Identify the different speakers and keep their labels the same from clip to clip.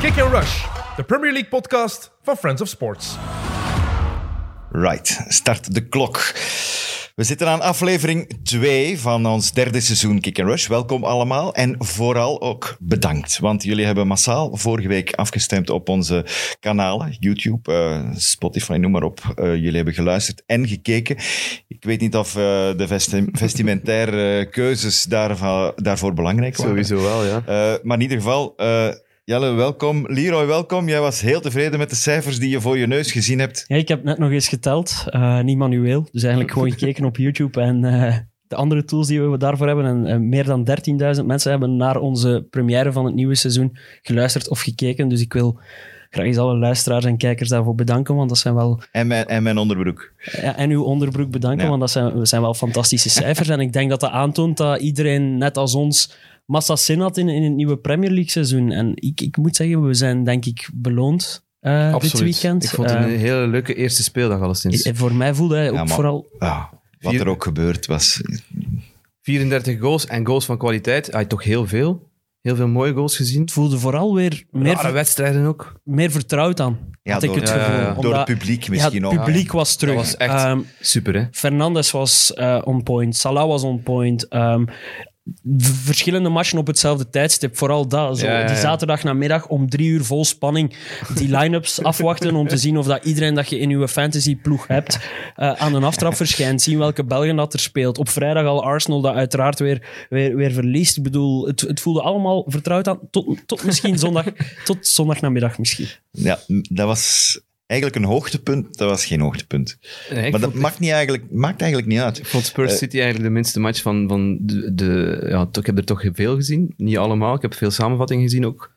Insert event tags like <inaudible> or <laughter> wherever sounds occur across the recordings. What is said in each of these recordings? Speaker 1: Kick and Rush, de Premier League podcast van Friends of Sports.
Speaker 2: Right, start de klok. We zitten aan aflevering 2 van ons derde seizoen Kick and Rush. Welkom allemaal en vooral ook bedankt. Want jullie hebben massaal vorige week afgestemd op onze kanalen. YouTube, eh, Spotify, noem maar op. Eh, jullie hebben geluisterd en gekeken. Ik weet niet of eh, de vesti- vestimentaire eh, keuzes daarvan, daarvoor belangrijk waren.
Speaker 3: Sowieso wel, ja.
Speaker 2: Eh, maar in ieder geval, eh, Jelle, welkom. Leroy, welkom. Jij was heel tevreden met de cijfers die je voor je neus gezien hebt.
Speaker 4: Ja, ik heb net nog eens geteld. eh, niet manueel. Dus eigenlijk
Speaker 3: <laughs>
Speaker 4: gewoon gekeken op YouTube en eh, de andere tools die we daarvoor hebben. En eh, meer dan 13.000 mensen hebben naar onze première van het nieuwe seizoen geluisterd of gekeken. Dus ik wil graag eens alle luisteraars en kijkers daarvoor bedanken. Want dat zijn wel.
Speaker 2: En mijn, en mijn onderbroek.
Speaker 4: ja, en uw onderbroek bedanken,
Speaker 2: Ja.
Speaker 4: want dat zijn, dat zijn wel
Speaker 3: <laughs>
Speaker 4: fantastische cijfers. en ik denk dat dat aantoont dat iedereen, net als ons. Massa zin had in, in het nieuwe Premier League seizoen. En ik, ik moet zeggen, we zijn denk ik beloond eh, dit weekend.
Speaker 3: Ik vond het
Speaker 4: Eh,
Speaker 3: een hele leuke eerste speeldag alleszins.
Speaker 4: Eh, Voor mij voelde hij ook
Speaker 2: Dus- maar-
Speaker 4: vooral...
Speaker 2: Ah, wat
Speaker 3: Vier-
Speaker 2: er ook gebeurd was.
Speaker 3: 34 goals en goals van kwaliteit. Hij toch heel veel. Heel veel mooie goals gezien.
Speaker 4: Het voelde vooral weer meer,
Speaker 3: Meer wedstrijden ook.
Speaker 4: meer vertrouwd aan.
Speaker 2: Ja,
Speaker 4: had
Speaker 2: door-
Speaker 4: ik het
Speaker 3: ja, ja,
Speaker 4: gevoel.
Speaker 3: ja.
Speaker 4: Omdat-
Speaker 2: Door het publiek misschien
Speaker 4: ja,
Speaker 2: ook.
Speaker 4: het publiek was terug.
Speaker 3: Dat was echt-
Speaker 4: Ehm,
Speaker 3: Super, hè?
Speaker 4: Fernandes was eh, on point. Salah was on point. Ehm, v- verschillende matchen op hetzelfde tijdstip. Vooral dat. Zo,
Speaker 3: Ja, ja, ja.
Speaker 4: Die zaterdag namiddag om drie uur vol spanning die
Speaker 3: <laughs>
Speaker 4: line-ups afwachten om te zien of dat iedereen dat je in je fantasyploeg hebt eh, aan een aftrap verschijnt. Zien welke Belgen dat er speelt. Op vrijdag al Arsenal dat uiteraard weer, weer, weer verliest. Ik bedoel, het, het voelde allemaal vertrouwd aan tot, tot misschien zondag, tot zondagnamiddag misschien.
Speaker 2: Ja, m- dat was eigenlijk een hoogtepunt. Dat was geen hoogtepunt.
Speaker 3: Nee, ik
Speaker 2: maar dat
Speaker 3: vond,
Speaker 2: maakt, niet eigenlijk, maakt eigenlijk niet uit.
Speaker 3: ik vond Spurs
Speaker 2: eh,
Speaker 3: City eigenlijk de minste match van, van de... de ja, toch- ik heb er toch veel gezien. Niet allemaal. Ik heb veel samenvattingen gezien ook.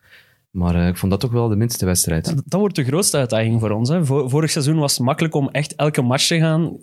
Speaker 3: Maar eh, ik vond dat toch wel de minste wedstrijd.
Speaker 4: Ja, Dat wordt de grootste uitdaging voor ons. Hè. Vor- Vorig seizoen was het makkelijk om echt elke match te gaan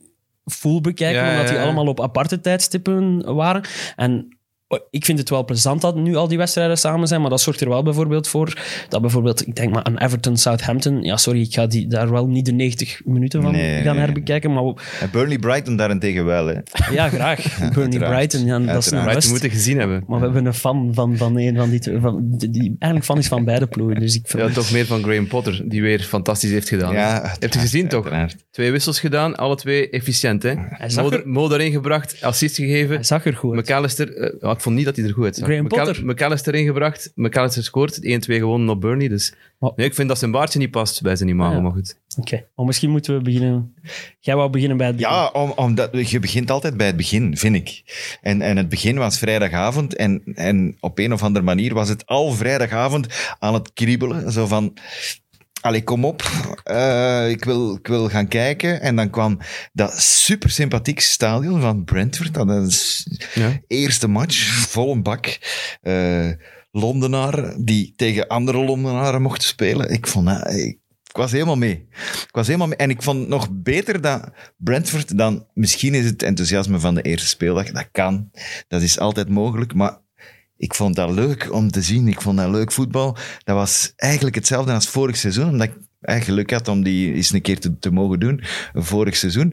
Speaker 4: full bekijken,
Speaker 3: Ja,
Speaker 4: omdat die
Speaker 3: ja, ja.
Speaker 4: allemaal op aparte tijdstippen waren. En oh, ik vind het wel plezant dat nu al die wedstrijden samen zijn, maar dat zorgt er wel bijvoorbeeld voor dat bijvoorbeeld, ik denk maar aan Everton-Southampton, ja sorry, ik ga die, daar wel niet de 90 minuten van
Speaker 2: Nee,
Speaker 4: gaan
Speaker 2: nee.
Speaker 4: herbekijken, maar we-
Speaker 2: En Burnley Brighton daarentegen wel. Hè.
Speaker 4: ja, graag. Burnley
Speaker 2: uiteraard.
Speaker 4: Brighton, ja, dat is een
Speaker 2: Uiteraard.
Speaker 3: Maar
Speaker 4: rust.
Speaker 3: je moet het gezien hebben.
Speaker 4: Maar we hebben een fan van, van een van die twee, van, die, die eigenlijk fan is van beide ploegen, dus ik vind
Speaker 3: Ja, toch meer van Graham Potter, die weer fantastisch heeft gedaan.
Speaker 2: Ja,
Speaker 3: hè?
Speaker 2: uiteraard,
Speaker 3: Heb je gezien toch?
Speaker 2: uiteraard.
Speaker 3: Twee wissels gedaan, alle twee efficiënt. Hè?
Speaker 4: zag
Speaker 3: Mo,
Speaker 4: er-
Speaker 3: Mo daarin gebracht, assist gegeven.
Speaker 4: hij zag er goed uit.
Speaker 3: McAllister, eh, ja, ik vond niet dat hij er goed uitzag.
Speaker 4: Graham
Speaker 3: McAll-
Speaker 4: Potter.
Speaker 3: McAllister ingebracht, McAllister scoort, 1-2 gewonnen op Burnley. Dus
Speaker 4: Maar-
Speaker 3: nee, ik vind dat zijn baardje niet past bij zijn imago,
Speaker 4: Ah, ja.
Speaker 3: maar goed.
Speaker 4: Oké, maar misschien moeten we beginnen. Jij wou beginnen bij het begin.
Speaker 2: Ja, om, omdat, je begint altijd bij het begin, vind ik. En, en het begin was vrijdagavond. En, en op een of andere manier was het al vrijdagavond aan het kriebelen. Zo van. Allee, kom op. eh, ik, wil, ik wil gaan kijken. En dan kwam dat super sympathiek stadion van Brentford. Dat is
Speaker 3: Ja.
Speaker 2: eerste match, vol een bak. Eh, Londenaar die tegen andere Londenaren mocht spelen. Ik vond dat- ik, ik was helemaal mee. Ik was helemaal mee. En ik vond het nog beter dan Brentford dan misschien is het enthousiasme van de eerste speeldag. Dat kan. Dat is altijd mogelijk. Maar ik vond dat leuk om te zien. Ik vond dat leuk voetbal. Dat was eigenlijk hetzelfde als vorig seizoen. Omdat ik eigenlijk geluk had om die eens een keer te, te mogen doen. Vorig seizoen.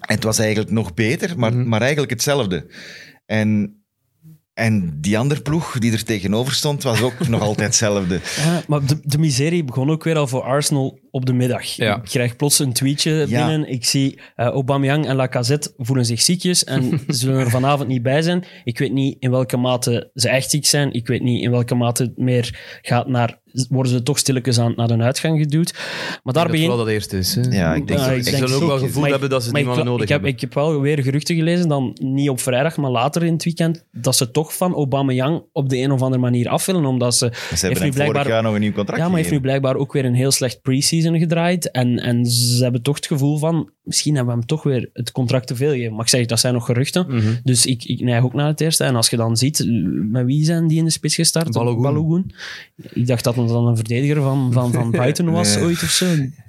Speaker 2: En het was eigenlijk nog beter, maar, maar eigenlijk hetzelfde. En, en die andere ploeg die er tegenover stond, was ook nog altijd hetzelfde.
Speaker 4: Ja, maar de, de miserie begon ook weer al voor Arsenal op de middag.
Speaker 3: Ja.
Speaker 4: Ik krijg plots een tweetje
Speaker 2: Ja.
Speaker 4: binnen. Ik zie eh Aubameyang en Lacazette voelen zich
Speaker 3: <laughs>
Speaker 4: ziekjes en zullen er vanavond niet bij zijn. Ik weet niet in welke mate ze echt ziek zijn. Ik weet niet in welke mate het meer gaat naar... Worden ze toch stilletjes aan naar de uitgang geduwd. Maar daar
Speaker 3: Dat het
Speaker 4: begin,
Speaker 3: vooral dat eerste is. hè.
Speaker 2: Ja, ik denk
Speaker 4: Ja,
Speaker 2: dat
Speaker 4: ik
Speaker 2: ik
Speaker 3: Ze
Speaker 4: denk
Speaker 3: zullen ook wel
Speaker 4: zo.
Speaker 3: gevoeld
Speaker 4: Maar ik-
Speaker 3: hebben dat ze
Speaker 4: Maar
Speaker 3: die
Speaker 4: ik,
Speaker 3: mannen
Speaker 4: ik
Speaker 3: nodig
Speaker 4: heb,
Speaker 3: hebben.
Speaker 4: ik heb wel weer geruchten gelezen, dan niet op vrijdag, maar later in het weekend, dat ze toch van Aubameyang op de een of andere manier af willen, omdat ze...
Speaker 2: Ze hebben hem vorig jaar nog een nieuw contract
Speaker 4: ja, maar heeft nu
Speaker 2: gegeven.
Speaker 4: blijkbaar ook weer een heel slecht pre-season gedraaid. En, en ze hebben toch het gevoel van, misschien hebben we hem toch weer het contract te veel gegeven. Maar ik zeg, dat zijn nog geruchten.
Speaker 3: Mhm.
Speaker 4: Dus ik, ik neig ook naar het eerste. En als je dan ziet, eh, met wie zijn die in de spits gestart?
Speaker 3: Balogun.
Speaker 4: Ik dacht dat het dan een verdediger van, van, van buiten was
Speaker 2: Nee.
Speaker 4: ooit of zo.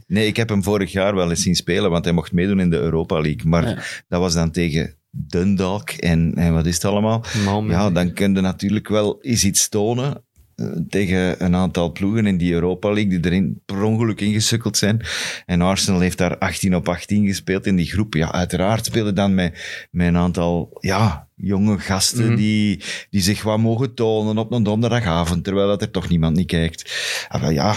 Speaker 2: Nee, ik heb hem vorig jaar wel eens zien spelen, want hij mocht meedoen in de Europa League. Maar
Speaker 4: Ja.
Speaker 2: dat was dan tegen Dundalk en, en wat is het allemaal?
Speaker 3: Malmö.
Speaker 2: Ja, dan kun je natuurlijk wel eens iets tonen. eh, tegen een aantal ploegen in die Europa League die erin per ongeluk ingesukkeld zijn. En Arsenal heeft daar 18 op 18 gespeeld in die groep. Ja, uiteraard spelen dan met, met een aantal ja, jonge gasten
Speaker 3: Mhm.
Speaker 2: die, die zich wat mogen tonen op een donderdagavond, terwijl dat er toch niemand niet kijkt. Ah, wel ja,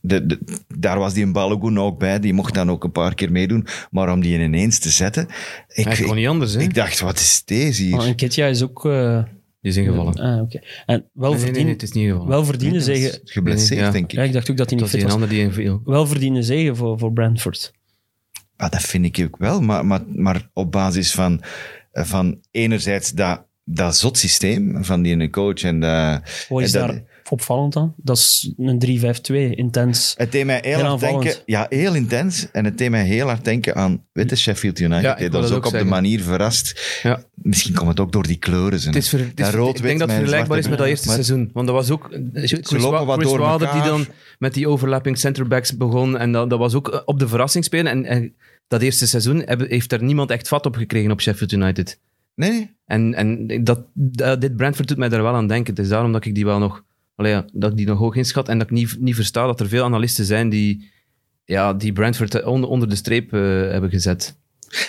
Speaker 2: de, de- daar was die Balogun ook bij, die mocht dan ook een paar keer meedoen. Maar om die ineens te zetten, ik,
Speaker 3: Hij kon
Speaker 2: ik,
Speaker 3: niet anders, hè?
Speaker 2: ik dacht, wat is deze hier?
Speaker 4: Oh, en Ketja is ook... eh,
Speaker 3: Die is ingevallen.
Speaker 4: Ah, oké. En wel
Speaker 3: Nee, nee,
Speaker 4: verdienen,
Speaker 3: nee, het is niet ingevallen.
Speaker 4: wel verdienen
Speaker 2: Dat is
Speaker 4: zeggen...
Speaker 2: Geblesseerd,
Speaker 3: Nee, ja.
Speaker 2: denk ik.
Speaker 4: Ja, ik dacht ook dat hij
Speaker 3: het
Speaker 4: niet
Speaker 3: was
Speaker 4: fit
Speaker 3: die een
Speaker 4: was.
Speaker 3: ander die inviel.
Speaker 4: Wel verdienen zeggen voor, voor Brentford.
Speaker 2: Ah, dat vind ik ook wel, maar, maar, maar op basis van, van enerzijds dat, dat zot systeem van die ene coach en dat...
Speaker 4: Wat is
Speaker 2: en dat-
Speaker 4: daar opvallend aan? Dat is een 3-5-2,
Speaker 3: <laughs>
Speaker 4: intens.
Speaker 2: Het deed mij heel,
Speaker 4: Heel
Speaker 2: hard
Speaker 4: aanvallend.
Speaker 2: denken... Ja, heel intens. En het deed mij heel hard denken aan witte Sheffield United.
Speaker 3: Ja, ik
Speaker 2: dat
Speaker 3: wou
Speaker 2: was ook
Speaker 3: dat ook
Speaker 2: op de
Speaker 3: zeggen.
Speaker 2: manier verrast.
Speaker 3: Ja.
Speaker 2: Misschien komt het ook door die kleuren.
Speaker 3: Het is ver, het is-
Speaker 2: Dat rood-wit
Speaker 3: ik denk dat
Speaker 2: met
Speaker 3: het vergelijkbaar is met dat
Speaker 2: zwarte-
Speaker 3: eerste
Speaker 2: maar-
Speaker 3: seizoen. Want dat was ook eh, Chris,
Speaker 2: lopen wat
Speaker 3: Chris
Speaker 2: door
Speaker 3: Wilder die
Speaker 2: elkaar.
Speaker 3: dan met die overlapping centerbacks begon. En dat, dat was ook eh, op de verrassing spelen. En, en dat eerste seizoen heb- heeft er niemand echt vat op gekregen op Sheffield United.
Speaker 2: Nee, nee.
Speaker 3: En, en dat, dat- dit Brentford doet mij daar wel aan denken. Het is daarom dat ik die wel nog, allee, ja, dat ik die nog hoog inschat. En dat ik niet, niet versta dat er veel analisten zijn die, ja, die Brentford eh, onder, onder de streep eh, hebben gezet.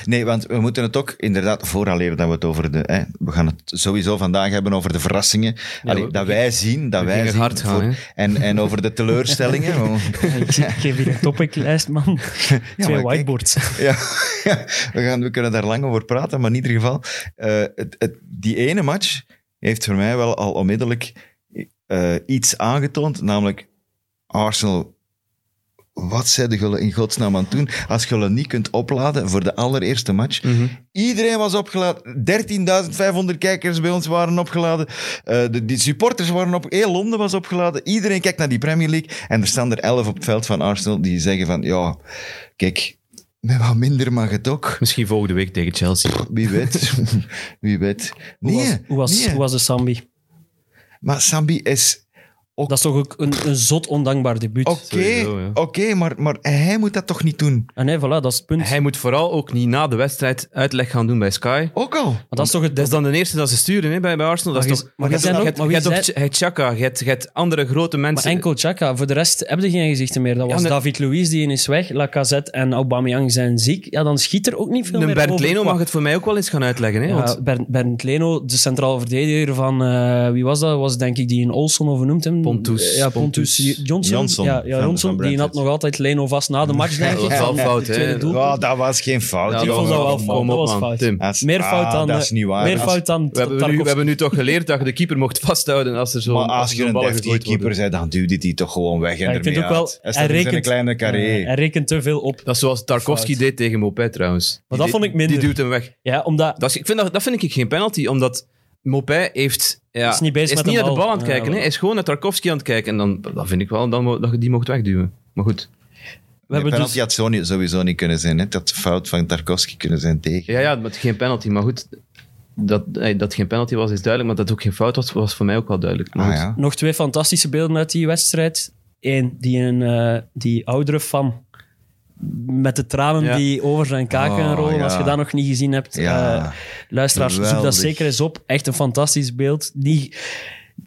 Speaker 2: Nee, want we moeten het ook inderdaad vooraleer dat we het over de. Hè, we gaan het sowieso vandaag hebben over de verrassingen. Allee,
Speaker 3: we-
Speaker 2: dat wij zien. Dat
Speaker 3: we
Speaker 2: wij
Speaker 3: gingen
Speaker 2: zien
Speaker 3: hard gaan, hè.
Speaker 2: en, en over de teleurstellingen.
Speaker 3: <laughs>
Speaker 2: <laughs> We-
Speaker 4: Ik zie- ik geef hier een topiclijst, man. <laughs> Twee
Speaker 2: kijk.
Speaker 4: whiteboards.
Speaker 2: ja, <laughs> we, gaan, we kunnen daar lang over praten, maar in ieder geval. eh, het, het, die ene match heeft voor mij wel al onmiddellijk eh, iets aangetoond. Namelijk, Arsenal. Wat zijn jullie in godsnaam aan het doen? Als jullie niet kunt opladen voor de allereerste match, Iedereen was opgeladen. 13.500 kijkers bij ons waren opgeladen. Eh, de, die supporters waren op. Heel Londen was opgeladen. Iedereen kijkt naar die Premier League. En er staan er 11 op het veld van Arsenal die zeggen van... Ja, kijk, met wat minder mag het ook.
Speaker 3: Misschien volgende week tegen Chelsea.
Speaker 2: Wie <laughs> weet. Wie weet.
Speaker 4: Hoe was,
Speaker 2: Nee,
Speaker 4: hoe was,
Speaker 2: nee.
Speaker 4: hoe was de Sambi?
Speaker 2: Maar Sambi is...
Speaker 4: Dat is toch ook een, een zot ondankbaar debuut.
Speaker 2: Oké,
Speaker 3: Sowieso, ja.
Speaker 2: oké, maar, maar hij moet dat toch niet doen?
Speaker 4: En nee, voilà, dat is het punt.
Speaker 3: Hij moet vooral ook niet na de wedstrijd uitleg gaan doen bij Sky.
Speaker 2: Ook al.
Speaker 4: Want dat is toch het...
Speaker 3: Dat is dan de eerste dat ze sturen hè, bij, bij Arsenal. Dat
Speaker 4: Maar
Speaker 3: is
Speaker 4: je-
Speaker 3: toch,
Speaker 4: maar
Speaker 3: je
Speaker 4: je zijn
Speaker 3: hebt-
Speaker 4: ook-
Speaker 3: je hebt- je
Speaker 4: maar wie
Speaker 3: hebt ook
Speaker 4: zijn-
Speaker 3: Ch- je hebt Chaka, je hebt, je hebt andere grote
Speaker 4: maar
Speaker 3: mensen.
Speaker 4: enkel Chaka. Voor de rest heb je geen gezichten meer. Dat was
Speaker 3: Ja, maar-
Speaker 4: David Luiz, die is weg. Lacazette en Aubameyang zijn ziek. Ja, dan schiet er ook niet veel
Speaker 3: Een
Speaker 4: meer
Speaker 3: Bernd
Speaker 4: over
Speaker 3: Leno
Speaker 4: qua-
Speaker 3: mag het voor mij ook wel eens gaan uitleggen. Hè, want
Speaker 4: Ja, Bernd, Bernd Leno, de centrale verdediger van... eh, wie was dat? Was denk ik die in Olson of noemt hem?
Speaker 3: Pontus.
Speaker 4: Ja, Pontus,
Speaker 3: Pontus.
Speaker 4: Johnson.
Speaker 2: Johnson
Speaker 4: Ja, ja
Speaker 2: van-
Speaker 4: Johnson.
Speaker 2: van
Speaker 4: die had
Speaker 2: Brentford.
Speaker 4: nog altijd Leno vast na de match, denk
Speaker 3: dat
Speaker 4: ik.
Speaker 3: was wel
Speaker 4: Van
Speaker 3: fout,
Speaker 4: het tweede
Speaker 3: hè.
Speaker 4: doelpunt.
Speaker 2: Ja, dat was geen fout.
Speaker 3: Ja,
Speaker 4: ik
Speaker 2: jongen.
Speaker 4: vond dat wel
Speaker 3: kom
Speaker 4: fout.
Speaker 3: op,
Speaker 4: Dat was
Speaker 3: man,
Speaker 4: fout.
Speaker 3: Tim.
Speaker 2: Dat is-
Speaker 4: Meer fout
Speaker 2: ah,
Speaker 4: dan...
Speaker 2: dat is niet waar.
Speaker 4: Meer
Speaker 2: Als-
Speaker 4: fout dan
Speaker 3: We hebben, nu, we
Speaker 4: Tarkovsky.
Speaker 3: hebben nu toch geleerd dat je de keeper mocht vasthouden als er zo'n
Speaker 2: Maar
Speaker 3: als
Speaker 2: als
Speaker 3: er
Speaker 2: je
Speaker 3: zo'n
Speaker 2: een
Speaker 3: bal
Speaker 2: deftige
Speaker 3: gegooid wordt.
Speaker 2: keeper bent, dan duwt hij die toch gewoon weg en
Speaker 4: Ja, ik
Speaker 2: ermee
Speaker 4: vind ook wel...
Speaker 2: uit. Hij
Speaker 4: Hij
Speaker 2: staat dus in zijn
Speaker 4: rekent,
Speaker 2: kleine carré.
Speaker 4: Ja, hij rekent te veel op.
Speaker 3: Dat is zoals Tarkovsky
Speaker 4: Fout.
Speaker 3: deed tegen Mopé trouwens. Die
Speaker 4: dat
Speaker 3: deed-
Speaker 4: vond ik minder.
Speaker 3: Die duwt hem weg.
Speaker 4: Ja, omdat...
Speaker 3: Dat, is- ik vind dat, dat vind ik geen penalty, omdat Mopé heeft... Ja,
Speaker 4: Is niet bezig met de
Speaker 3: niet naar de
Speaker 4: bal.
Speaker 3: bal aan het
Speaker 4: Ja,
Speaker 3: kijken.
Speaker 4: wel.
Speaker 3: hè. Hij is gewoon naar Tarkovsky aan het kijken. En dan dat vind ik wel dan, mo- dat je die mocht wegduwen. Maar goed.
Speaker 4: We hebben
Speaker 2: penalty
Speaker 4: dus...
Speaker 2: had zo niet- sowieso niet kunnen zijn. Hè? Dat fout van Tarkovsky kunnen zijn tegen.
Speaker 3: Ja, ja, met geen penalty. Maar goed, dat, eh, dat geen penalty was, is duidelijk. Maar dat het ook geen fout was, was voor mij ook wel duidelijk. Maar
Speaker 2: Ah,
Speaker 3: goed.
Speaker 2: ja.
Speaker 4: Nog twee fantastische beelden uit die wedstrijd. Eén, die, een, eh, die oudere fan met de tranen
Speaker 3: Ja.
Speaker 4: die over zijn kaken
Speaker 2: Oh,
Speaker 4: rollen. Als
Speaker 2: ja.
Speaker 4: je dat nog niet gezien hebt,
Speaker 2: Ja.
Speaker 4: eh, luisteraars, zoek dat
Speaker 2: Geweldig.
Speaker 4: zeker eens op. Echt een fantastisch beeld. Niet,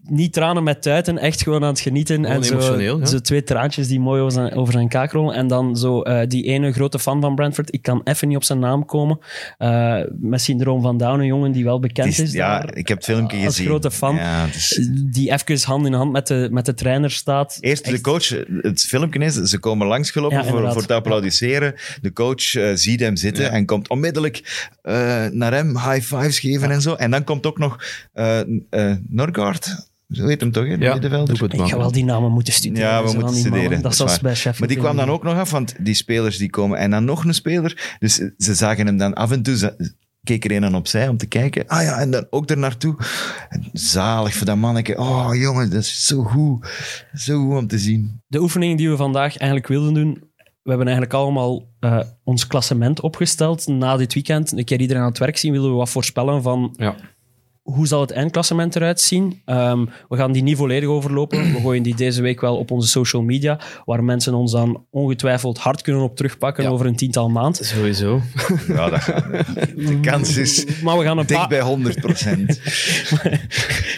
Speaker 4: niet tranen met tuiten, echt gewoon aan het genieten.
Speaker 3: Gewoon
Speaker 4: en zo,
Speaker 3: emotioneel, ja.
Speaker 4: zo twee traantjes die mooi over zijn, over zijn kaak rollen. En dan zo eh, die ene grote fan van Brentford. Ik kan even niet op zijn naam komen. Eh met syndroom van Down, een jongen die wel
Speaker 2: Het
Speaker 4: bekend
Speaker 2: is-
Speaker 4: is.
Speaker 2: ja,
Speaker 4: daar. eh,
Speaker 2: ik heb het filmpje
Speaker 4: als
Speaker 2: gezien.
Speaker 4: grote fan.
Speaker 2: Ja, het is-
Speaker 4: die even hand in hand met de, met de trainer staat.
Speaker 2: Eerst de
Speaker 4: Echt-
Speaker 2: coach, het filmpje is, ze komen langsgelopen
Speaker 4: Ja,
Speaker 2: voor,
Speaker 4: inderdaad.
Speaker 2: voor te applaudisseren. De coach eh, ziet hem zitten en komt onmiddellijk eh, naar hem high fives geven en zo. En dan komt ook nog eh eh, Norgaard, zo heet hem toch, hè, de
Speaker 3: Ja,
Speaker 2: middenvelder?
Speaker 3: doe het
Speaker 4: Ik ga
Speaker 3: maar.
Speaker 4: wel die namen moeten studeren.
Speaker 2: Ja,
Speaker 4: zo
Speaker 2: we
Speaker 4: van
Speaker 2: moeten
Speaker 4: die
Speaker 2: studeren. dat
Speaker 4: mannen. Dat
Speaker 2: is
Speaker 4: is als
Speaker 2: waar.
Speaker 4: bij Sheffield.
Speaker 2: Maar die kwam dan
Speaker 4: United.
Speaker 2: ook nog af, want die spelers die komen. En dan nog een speler. Dus ze zagen hem dan af en toe. Ze, keek er een aan opzij om te kijken. Ah ja, en dan ook er naartoe. Zalig voor dat manneke. Oh jongen, dat is zo goed. Zo goed om te zien.
Speaker 4: De oefening die we vandaag eigenlijk wilden doen... We hebben eigenlijk allemaal eh, ons klassement opgesteld na dit weekend. Een keer iedereen aan het werk zien, willen we wat voorspellen van
Speaker 3: Ja.
Speaker 4: hoe zal het eindklassement eruit zien? Ehm, we gaan die niet volledig overlopen. We gooien die deze week wel op onze social media, waar mensen ons dan ongetwijfeld hard kunnen op terugpakken over een tiental maanden.
Speaker 3: Sowieso.
Speaker 2: Ja, dat gaat. De kans is
Speaker 4: Maar we gaan een
Speaker 2: dik
Speaker 4: paar...
Speaker 2: bij 100 procent.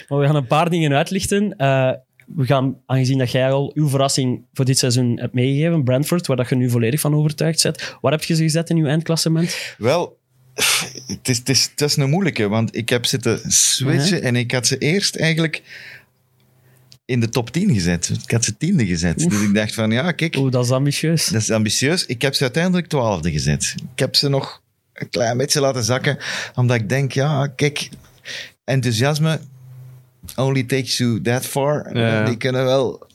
Speaker 4: Maar we gaan een paar dingen uitlichten. Eh, we gaan, aangezien dat jij al uw verrassing voor dit seizoen hebt meegegeven, Brentford, waar dat je nu volledig van overtuigd bent, waar heb je ze gezet in uw eindklassement?
Speaker 2: Wel, het is, het, is, het is een moeilijke, want ik heb zitten switchen en ik had ze eerst eigenlijk in de top 10 gezet. Ik had ze tiende gezet. Dus ik dacht van, ja, kijk,
Speaker 4: Oeh, dat is ambitieus.
Speaker 2: dat is ambitieus. Ik heb ze uiteindelijk twaalfde gezet. Ik heb ze nog een klein beetje laten zakken, omdat ik denk, ja, kijk, enthousiasme only takes you that far.
Speaker 3: Ja.
Speaker 2: Die kunnen wel...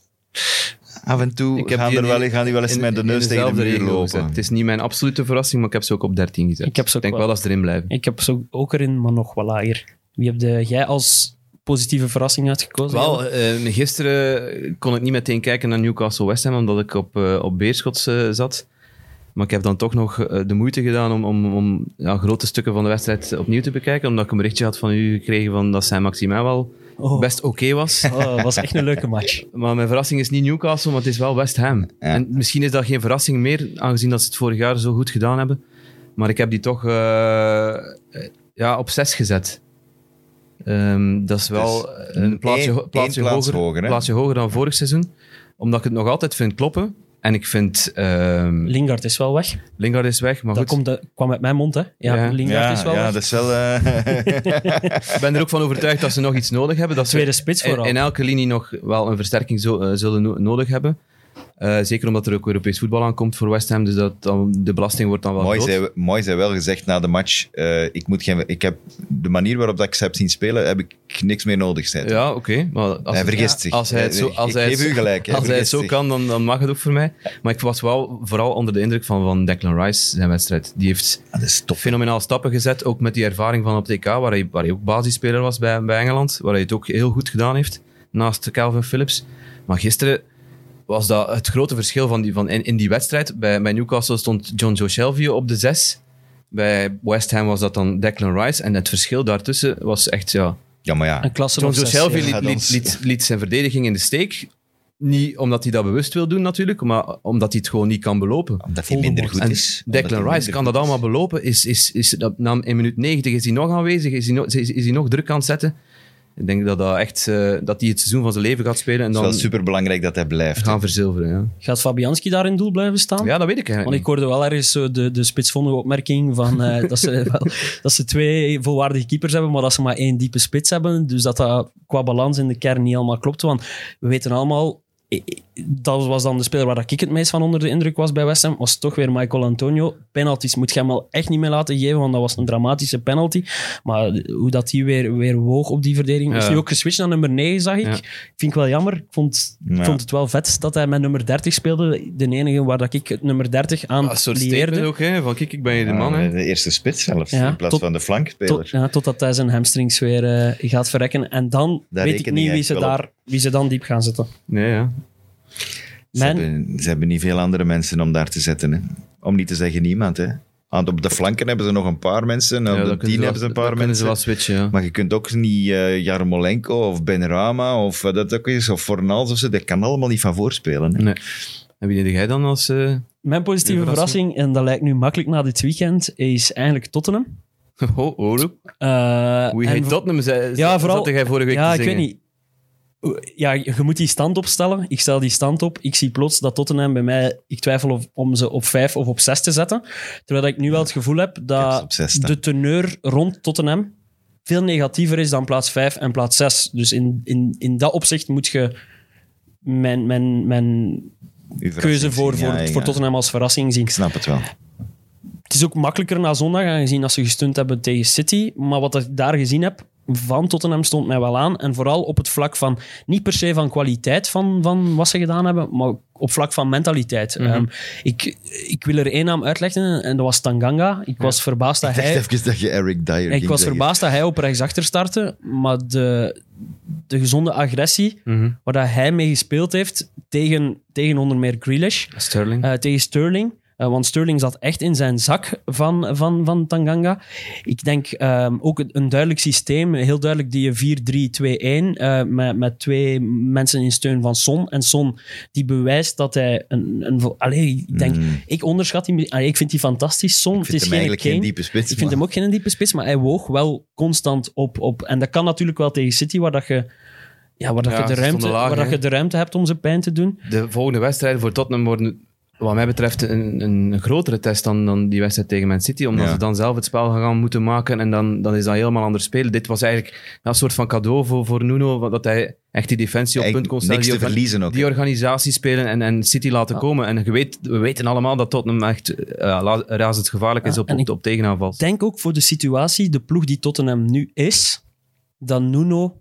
Speaker 2: Af en toe
Speaker 3: Ik heb
Speaker 2: gaan,
Speaker 3: die
Speaker 2: er wel,
Speaker 3: in-
Speaker 2: gaan die wel eens
Speaker 3: in-
Speaker 2: met de
Speaker 3: in
Speaker 2: neus tegen de
Speaker 3: dezelfde
Speaker 2: muur
Speaker 3: regio gezet.
Speaker 2: lopen.
Speaker 3: Het is niet mijn absolute verrassing, maar ik heb ze ook op 13 gezet.
Speaker 4: Ik heb ze ook
Speaker 3: denk wel
Speaker 4: wel.
Speaker 3: dat ze erin blijven.
Speaker 4: Ik heb ze ook erin, maar nog wat lager. Wie heb de, jij als positieve verrassing uitgekozen?
Speaker 3: Wel, eh, gisteren kon ik niet meteen kijken naar Newcastle West Ham, omdat ik op, eh, op Beerschot eh, zat. Maar ik heb dan toch nog eh, de moeite gedaan om, om, om ja, grote stukken van de wedstrijd opnieuw te bekijken. Omdat ik een berichtje had van u gekregen van dat Saint-Maximin wel
Speaker 4: Oh.
Speaker 3: best oké <laughs> was.
Speaker 4: Oh, dat was echt een leuke match.
Speaker 3: Maar mijn verrassing is niet Newcastle, maar het is wel West Ham. En misschien is dat geen verrassing meer, aangezien dat ze het vorig jaar zo goed gedaan hebben. Maar ik heb die toch eh, eh, ja, op 6 gezet. Ehm, dat is wel een plaatsje,
Speaker 2: Dus één-
Speaker 3: ho- plaatsje
Speaker 2: één plaats
Speaker 3: hoger,
Speaker 2: hoger, hè?
Speaker 3: plaatsje hoger dan vorig seizoen. Omdat ik het nog altijd vind kloppen. En ik vind... ehm,
Speaker 4: Lingard is wel weg.
Speaker 3: Lingard is weg, maar
Speaker 4: Dat
Speaker 3: goed.
Speaker 4: komt de- kwam uit mijn mond, hè? Ja,
Speaker 3: Ja.
Speaker 4: Lingard
Speaker 2: Ja,
Speaker 4: is wel
Speaker 2: ja,
Speaker 4: weg.
Speaker 2: dat is wel...
Speaker 3: <laughs>
Speaker 2: eh,
Speaker 3: Ik ben er ook van overtuigd dat ze nog iets nodig hebben. Dat ze
Speaker 4: Tweede spits
Speaker 3: in,
Speaker 4: vooral.
Speaker 3: in elke linie nog wel een versterking zo- eh, zullen no- nodig hebben. Eh, zeker omdat er ook Europees voetbal aankomt voor West Ham. Dus dat dan, de belasting wordt dan wel
Speaker 2: <laughs> Mooi
Speaker 3: groot.
Speaker 2: zei, mooi zei wel gezegd na de match. eh, ik moet geen, ik heb, de manier waarop dat ik ze heb zien spelen, heb ik niks meer nodig. Zei. hij.
Speaker 3: Ja, oké. maar als-
Speaker 2: hij vergist zich. Eh,
Speaker 3: Als hij het zo,
Speaker 2: Ik-
Speaker 3: als
Speaker 2: ik
Speaker 3: hij het
Speaker 2: geef
Speaker 3: zo-
Speaker 2: u gelijk.
Speaker 3: als hij het
Speaker 2: vergist
Speaker 3: zo
Speaker 2: zich.
Speaker 3: kan, dan, dan mag het ook voor mij. Maar ik was wel vooral onder de indruk van, van Declan Rice, zijn wedstrijd. Die heeft
Speaker 2: Ah, dat is top.
Speaker 3: fenomenaal stappen gezet, ook met die ervaring van op TK, waar hij, waar hij ook basisspeler was bij, bij Engeland, waar hij het ook heel goed gedaan heeft, naast Calvin Phillips. Maar gisteren was dat het grote verschil van die, van in, in die wedstrijd. Bij, bij Newcastle stond John Joe Shelby op de zes. Bij West Ham was dat dan Declan Rice. En het verschil daartussen was echt, ja...
Speaker 2: Ja, maar
Speaker 4: Een
Speaker 2: ja.
Speaker 4: klasse
Speaker 3: John Joe
Speaker 4: nog zes,
Speaker 3: Shelby
Speaker 4: ja.
Speaker 2: ja.
Speaker 3: liet, liet, liet, liet zijn verdediging in de steek. Niet omdat hij dat bewust wil doen natuurlijk, maar omdat hij het gewoon niet kan belopen.
Speaker 2: Omdat hij minder goed
Speaker 3: En
Speaker 2: is. Omdat
Speaker 3: Declan
Speaker 2: hij
Speaker 3: Rice
Speaker 2: minder
Speaker 3: kan
Speaker 2: goed
Speaker 3: dat allemaal
Speaker 2: is.
Speaker 3: belopen. Is, is, is, dat, na, in minuut 90 is hij nog aanwezig, is hij, nog- is, is hij nog druk aan het zetten. Ik denk dat, dat, echt, eh, dat hij het seizoen van zijn leven gaat spelen en
Speaker 2: Het is wel
Speaker 3: dan
Speaker 2: superbelangrijk dat hij blijft.
Speaker 3: gaan verzilveren.
Speaker 4: Gaat Fabianski daar in doel blijven
Speaker 3: Ja.
Speaker 4: staan?
Speaker 3: ja, dat weet ik
Speaker 4: Want
Speaker 3: eigenlijk
Speaker 4: ik hoorde wel ergens zo de, de spitsvondige opmerking
Speaker 3: <laughs>
Speaker 4: van, eh, dat, ze wel- dat ze twee volwaardige keepers hebben, maar dat ze maar één diepe spits hebben. Dus dat dat qua balans in de kern niet allemaal klopt. Want we weten allemaal, eh, eh, dat was dan de speler waar ik het meest van onder de indruk was bij West Ham, was toch weer Michael Antonio. Penalties moet je hem wel echt niet meer laten geven, want dat was een dramatische penalty. Maar hoe dat hij weer, weer woog op die verdediging, is
Speaker 3: Ja.
Speaker 4: nu ook geswitcht naar nummer 9, zag ik.
Speaker 3: Ja.
Speaker 4: Vind ik wel jammer. Ik vond, ik
Speaker 2: Ja.
Speaker 4: vond het wel vet dat hij met nummer 30 speelde. De enige waar dat ik het nummer 30 aan
Speaker 3: niet. Een soort statement
Speaker 4: leerde.
Speaker 3: Ah, ook, hè, van kijk, ik ben je de
Speaker 2: Ja,
Speaker 3: man. hè.
Speaker 2: Eh, de eerste spits zelfs,
Speaker 4: Ja,
Speaker 2: in plaats
Speaker 4: tot-
Speaker 2: van de flankspeler.
Speaker 4: Tot, ja, totdat hij zijn hamstrings weer eh, gaat verrekken. En dan
Speaker 2: Daar
Speaker 4: weet ik
Speaker 2: reken ik
Speaker 4: niet wie
Speaker 2: echt
Speaker 4: ze,
Speaker 2: wel op.
Speaker 4: daar, wie ze dan diep gaan zetten.
Speaker 3: Nee, ja.
Speaker 2: ze,
Speaker 4: Mijn-
Speaker 2: hebben, ze hebben niet veel andere mensen om daar te zetten. Hè. Om niet te zeggen niemand. Hè. Want op de flanken hebben ze nog een paar mensen.
Speaker 3: ja
Speaker 2: Op
Speaker 3: dan
Speaker 2: de
Speaker 3: kunnen
Speaker 2: tien
Speaker 3: wel-
Speaker 2: hebben ze een
Speaker 3: dan
Speaker 2: paar
Speaker 3: kunnen ze
Speaker 2: mensen.
Speaker 3: wel switchen, ja.
Speaker 2: Maar je kunt ook niet eh Jarmolenko of Benrama of wat dat ook is, of Fornals of zo. Dat kan allemaal niet van voorspelen. Hè.
Speaker 3: Nee. En wie deed jij dan als... eh, <laughs>
Speaker 4: Mijn positieve
Speaker 3: De verrassing.
Speaker 4: verrassing, en dat lijkt nu makkelijk na dit weekend, is eigenlijk Tottenham.
Speaker 3: Oh, oh, look.
Speaker 4: Eh,
Speaker 3: Hoe
Speaker 4: en
Speaker 3: heet
Speaker 4: vo-
Speaker 3: Tottenham? Zei,
Speaker 4: Ja,
Speaker 3: ja,
Speaker 4: vooral-
Speaker 3: vooral, zat jij vorige week
Speaker 4: Ja,
Speaker 3: te
Speaker 4: ik weet
Speaker 3: zingen.
Speaker 4: niet. Ja, je moet die stand opstellen. Ik stel die stand op. Ik zie plots dat Tottenham bij mij... Ik twijfel of, om ze op vijf of op zes te zetten. Terwijl ik nu wel het gevoel heb
Speaker 2: heb
Speaker 4: dat
Speaker 2: ze op zes staan.
Speaker 4: de teneur rond Tottenham veel negatiever is dan plaats vijf en plaats zes. Dus in, in, in dat opzicht moet je mijn, mijn, mijn
Speaker 2: Uw verrassing
Speaker 4: keuze voor,
Speaker 2: zien,
Speaker 4: voor,
Speaker 2: ja, ja.
Speaker 4: voor Tottenham als verrassing zien.
Speaker 2: Ik snap het wel.
Speaker 4: Het is ook makkelijker na zondag, aangezien dat ze gestunt hebben tegen City. Maar wat ik daar gezien heb van Tottenham stond mij wel aan. En vooral op het vlak van, niet per se van kwaliteit van, van wat ze gedaan hebben, maar op vlak van mentaliteit.
Speaker 2: Mhm.
Speaker 4: Ehm, ik, ik wil er één naam uitleggen, en dat was Tanganga. Ik was verbaasd dat
Speaker 2: Ik dacht
Speaker 4: hij...
Speaker 2: even dat je Eric Dyer
Speaker 4: Ik
Speaker 2: ging
Speaker 4: was
Speaker 2: zeggen.
Speaker 4: verbaasd dat hij op rechtsachter startte, maar de, de gezonde agressie
Speaker 2: Mhm.
Speaker 4: waar dat hij mee gespeeld heeft tegen, tegen onder meer Grealish,
Speaker 3: Sterling.
Speaker 4: eh, tegen Sterling. Eh, want Sterling zat echt in zijn zak van, van, van Tanganga. Ik denk ehm, ook een- een duidelijk systeem, heel duidelijk die 4-3-2-1, eh, met, met twee mensen in steun van Son. En Son die bewijst dat hij een... een vo- Allee, ik denk, ik onderschat hem, allee, ik vind die fantastisch. Son,
Speaker 2: Mm. Ik
Speaker 4: het
Speaker 2: vind
Speaker 4: is
Speaker 2: hem
Speaker 4: geen
Speaker 2: eigenlijk geen
Speaker 4: Kane.
Speaker 2: diepe spits.
Speaker 4: Ik vind hem ook geen diepe spits, maar hij woog wel constant op. op. En dat kan natuurlijk wel tegen City, waar dat je Ja, waar, dat
Speaker 3: Ja,
Speaker 4: je,
Speaker 3: ze
Speaker 4: de ruimte,
Speaker 3: stonden laag,
Speaker 4: waar dat
Speaker 3: hè?
Speaker 4: je de ruimte hebt om ze pijn te doen.
Speaker 3: De volgende wedstrijden voor Tottenham worden, wat mij betreft, een, een grotere test dan, dan die wedstrijd tegen Man City. Omdat
Speaker 2: Ja.
Speaker 3: ze dan zelf het spel gaan moeten maken en dan, dan is dat helemaal anders spelen. Dit was eigenlijk ja, een soort van cadeau voor, voor Nuno, want dat hij echt die defensie op punt kon
Speaker 2: Eigenlijk
Speaker 3: stellen.
Speaker 2: niks te
Speaker 3: die orga-
Speaker 2: verliezen ook.
Speaker 3: Die organisatie spelen en, en City laten komen. En je weet, we weten allemaal dat Tottenham echt eh, la- razend gevaarlijk is
Speaker 4: Ja,
Speaker 3: op,
Speaker 4: en
Speaker 3: op,
Speaker 4: ik-
Speaker 3: op tegenaanval.
Speaker 4: Ik denk ook voor de situatie, de ploeg die Tottenham nu is, dat Nuno,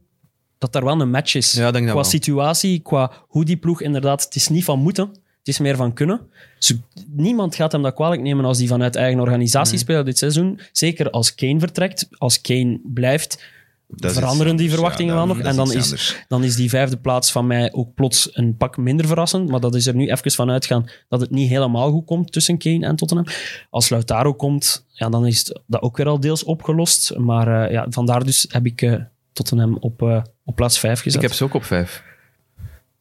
Speaker 4: dat daar wel een match is.
Speaker 3: Ja, ik denk dat
Speaker 4: qua
Speaker 3: wel.
Speaker 4: situatie, qua hoe die ploeg inderdaad, het is niet van moeten, het is meer van kunnen. Ze- niemand gaat hem dat kwalijk nemen als die vanuit eigen organisatie speelt dit seizoen. Zeker als Kane vertrekt, als Kane blijft,
Speaker 2: Dat is iets
Speaker 4: veranderen die
Speaker 2: anders,
Speaker 4: verwachtingen
Speaker 2: ja,
Speaker 4: wel
Speaker 2: dat-
Speaker 4: nog.
Speaker 2: dat
Speaker 4: En
Speaker 2: iets
Speaker 4: dan is,
Speaker 2: anders.
Speaker 4: dan is die vijfde plaats van mij ook plots een pak minder verrassend. Maar dat is er nu even van uitgaan dat het niet helemaal goed komt tussen Kane en Tottenham. Als Lautaro komt, ja, dan is het- dat ook weer al deels opgelost. Maar eh, ja, vandaar dus heb ik eh, Tottenham op, eh, op plaats vijf gezet.
Speaker 3: Ik heb ze ook op vijf.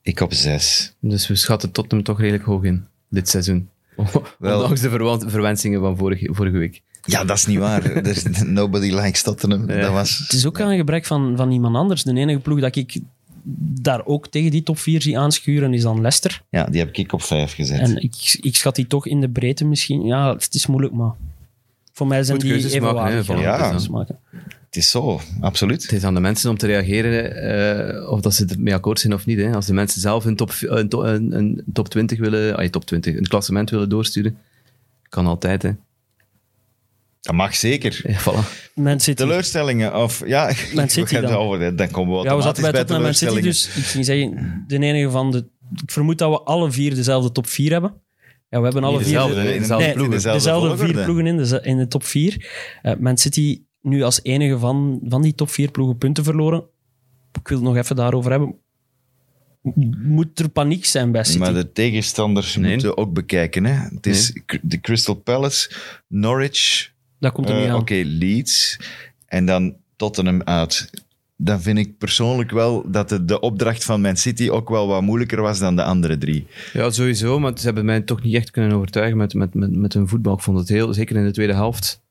Speaker 2: Ik op zes.
Speaker 3: Dus we schatten Tottenham toch redelijk hoog in dit seizoen.
Speaker 2: <laughs>
Speaker 3: <laughs>
Speaker 2: Wel.
Speaker 3: Ondanks de verwan- verwensingen van vorige, vorige week.
Speaker 2: Ja, dat is niet <laughs> waar. Er is- Nobody likes Tottenham.
Speaker 3: Ja.
Speaker 2: Dat was...
Speaker 4: Het is ook aan een gebrek van, van iemand anders. De enige ploeg dat ik daar ook tegen die top 4 zie aanschuren is dan Leicester.
Speaker 2: Ja, die heb ik op vijf gezet.
Speaker 4: En ik, ik schat die toch in de breedte misschien. Ja, het is moeilijk, maar voor mij zijn
Speaker 3: Moet
Speaker 4: die
Speaker 3: keuzes maken,
Speaker 4: evenwaardig.
Speaker 3: hè, van
Speaker 4: ja.
Speaker 2: alles, hè.
Speaker 4: keuzes maken.
Speaker 2: Het is zo, absoluut.
Speaker 3: Het is aan de mensen om te reageren eh, of dat ze ermee akkoord zijn of niet. Hè. Als de mensen zelf een top, v- een, to- een, een top 20 willen, ah, top 20, een klassement willen doorsturen, kan altijd. Hè. <laughs>
Speaker 2: Dat mag zeker.
Speaker 3: Ja, voilà.
Speaker 4: Man City.
Speaker 2: Teleurstellingen of... Ja, <laughs>
Speaker 4: Man City
Speaker 2: we gaan
Speaker 4: dan.
Speaker 2: het over- dan komen we
Speaker 4: Ja,
Speaker 2: automatisch
Speaker 4: we zaten bij
Speaker 2: bij
Speaker 4: Tottenham Man City,
Speaker 2: teleurstellingen.
Speaker 4: dus ik ging zeggen, de enige van de... Ik vermoed dat we alle vier dezelfde top 4 hebben. Ja, we hebben alle
Speaker 3: Niet
Speaker 4: vier
Speaker 3: dezelfde,
Speaker 4: de-
Speaker 3: hè,
Speaker 2: Nee,
Speaker 3: dezelfde
Speaker 4: nee,
Speaker 3: ploegen.
Speaker 2: dezelfde
Speaker 4: dezelfde vier
Speaker 2: volgorde.
Speaker 4: ploegen in de, in de top 4. Eh Man City nu als enige van, van die top 4 ploegen punten verloren. Ik wil het nog even daarover hebben. Moet er paniek zijn bij City?
Speaker 2: Maar de tegenstanders
Speaker 3: Nee.
Speaker 2: moeten we ook bekijken. Hè? Het is cr- de Crystal Palace, Norwich,
Speaker 4: dat komt er
Speaker 2: eh,
Speaker 4: niet
Speaker 2: oké,
Speaker 4: aan.
Speaker 2: Leeds en dan Tottenham uit. Dan vind ik persoonlijk wel dat de, de opdracht van Man City ook wel wat moeilijker was dan de andere drie. Ah
Speaker 3: Ja, sowieso, maar ze hebben mij toch niet echt kunnen overtuigen met, met, met, met hun voetbal. Ik vond het heel, zeker in de tweede helft.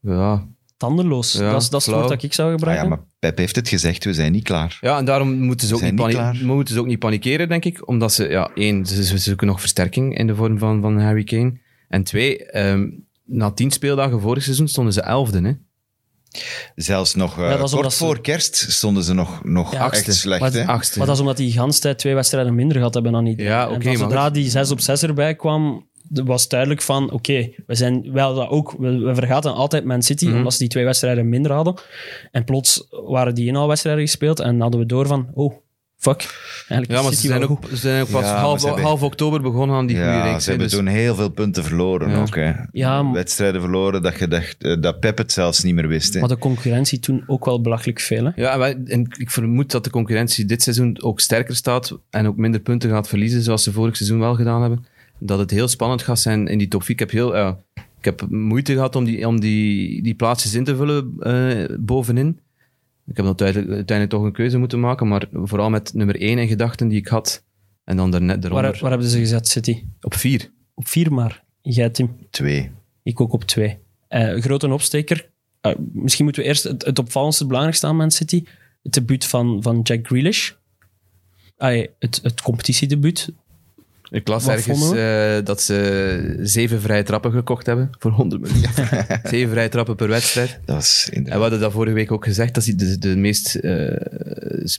Speaker 3: Ja,
Speaker 4: Tandeloos.
Speaker 3: Ja,
Speaker 4: dat is dat is het
Speaker 3: flauw.
Speaker 4: woord dat ik zou
Speaker 2: Ah
Speaker 4: gebruiken.
Speaker 2: ja, maar Pep heeft het gezegd, we zijn niet klaar.
Speaker 3: Ja, en daarom moeten ze, ook niet
Speaker 2: zijn niet
Speaker 3: pani-
Speaker 2: klaar.
Speaker 3: moeten ze ook niet panikeren, denk ik. Omdat ze, ja, één, ze, ze zoeken nog versterking in de vorm van, van Harry Kane. En twee, ehm, na tien speeldagen vorig seizoen stonden ze elfde. Hè?
Speaker 2: Zelfs nog eh,
Speaker 4: Ja, dat is
Speaker 2: kort
Speaker 4: omdat ze-
Speaker 2: voor kerst stonden ze nog, nog
Speaker 4: Ja,
Speaker 2: echt
Speaker 3: achtste.
Speaker 2: slecht.
Speaker 4: Maar-
Speaker 2: hè?
Speaker 3: Achtste.
Speaker 4: Maar dat is omdat die gans tijd twee wedstrijden minder gehad hebben dan iedereen.
Speaker 3: Ja,
Speaker 4: En
Speaker 3: oké,
Speaker 4: van
Speaker 3: maar
Speaker 4: zodra die 6 op 6 erbij kwam, d- was duidelijk van, oké, we zijn wel dat ook, we, we vergaten altijd Man City,
Speaker 3: Mhm.
Speaker 4: omdat ze die twee wedstrijden minder hadden. En plots waren die inhaalwedstrijden gespeeld en hadden we door van, oh, fuck, eigenlijk
Speaker 3: ja, maar
Speaker 4: is City
Speaker 3: ze zijn,
Speaker 4: wel
Speaker 3: ook,
Speaker 4: goed.
Speaker 3: ze zijn ook pas
Speaker 2: Ja, maar
Speaker 3: half,
Speaker 2: ze hebben-
Speaker 3: half oktober begonnen aan die goede
Speaker 2: Ja, ze
Speaker 3: reeks. hè,
Speaker 2: hebben
Speaker 3: dus-
Speaker 2: toen heel veel punten verloren
Speaker 3: Ja.
Speaker 2: ook. Hè.
Speaker 4: Ja, m-
Speaker 2: Wedstrijden verloren dat, je dacht, eh, dat Pep het zelfs niet meer wist. Hè.
Speaker 4: Maar de concurrentie toen ook wel belachelijk veel, hè.
Speaker 3: Ja, en wij- en ik vermoed dat de concurrentie dit seizoen ook sterker staat en ook minder punten gaat verliezen, zoals ze vorig seizoen wel gedaan hebben. Dat het heel spannend gaat zijn in die top 4. Ik heb, heel, ja, ik heb moeite gehad om die, om die, die plaatsjes in te vullen eh, bovenin. Ik heb dan uiteindelijk, uiteindelijk toch een keuze moeten maken, maar vooral met nummer 1 in gedachten die ik had. En dan daarnet
Speaker 4: Waar,
Speaker 3: daaronder
Speaker 4: waar hebben ze gezet, City?
Speaker 3: op 4.
Speaker 4: Op vier maar. Jij, Tim.
Speaker 2: Twee.
Speaker 4: Ik ook op twee. Eh, grote opsteker. Eh, misschien moeten we eerst het, het opvallendste, het belangrijkste aan Man City. Het debuut van, van Jack Grealish. Ah, ja, het, het competitiedebuut.
Speaker 3: Ik las
Speaker 4: Wat
Speaker 3: ergens
Speaker 4: vonden
Speaker 3: eh, dat ze zeven vrije trappen gekocht hebben voor 100 miljoen. <laughs> zeven vrije trappen per wedstrijd.
Speaker 2: Dat was
Speaker 3: En we
Speaker 2: inderdaad...
Speaker 3: hadden dat vorige week ook gezegd, dat is de, de, meest, eh,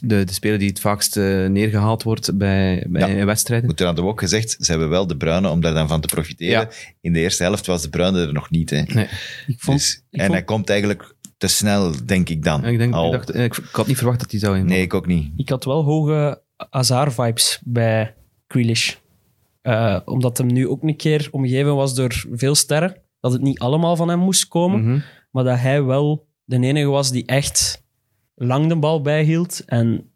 Speaker 3: de, de speler die het vaakst eh, neergehaald wordt bij, bij wedstrijden.
Speaker 2: Moet er aan de ook gezegd, ze hebben wel de Bruine om daar dan van te profiteren.
Speaker 3: Ja.
Speaker 2: In de eerste helft was de Bruine er nog niet. Hè.
Speaker 3: Nee.
Speaker 4: Ik vond,
Speaker 2: Dus-
Speaker 4: ik
Speaker 2: en
Speaker 4: vond-
Speaker 2: hij komt eigenlijk te snel, denk ik dan.
Speaker 3: En Ik, denk,
Speaker 2: Al.
Speaker 3: ik, dacht, eh, ik, ik had niet verwacht dat hij zou in.
Speaker 2: Nee, ik ook niet.
Speaker 4: ik had wel hoge Azar-vibes bij Grealish. Eh, omdat hem nu ook een keer omgeven was door veel sterren. Dat het niet allemaal van hem moest komen.
Speaker 3: Mhm.
Speaker 4: Maar dat hij wel de enige was die echt lang de bal bijhield. En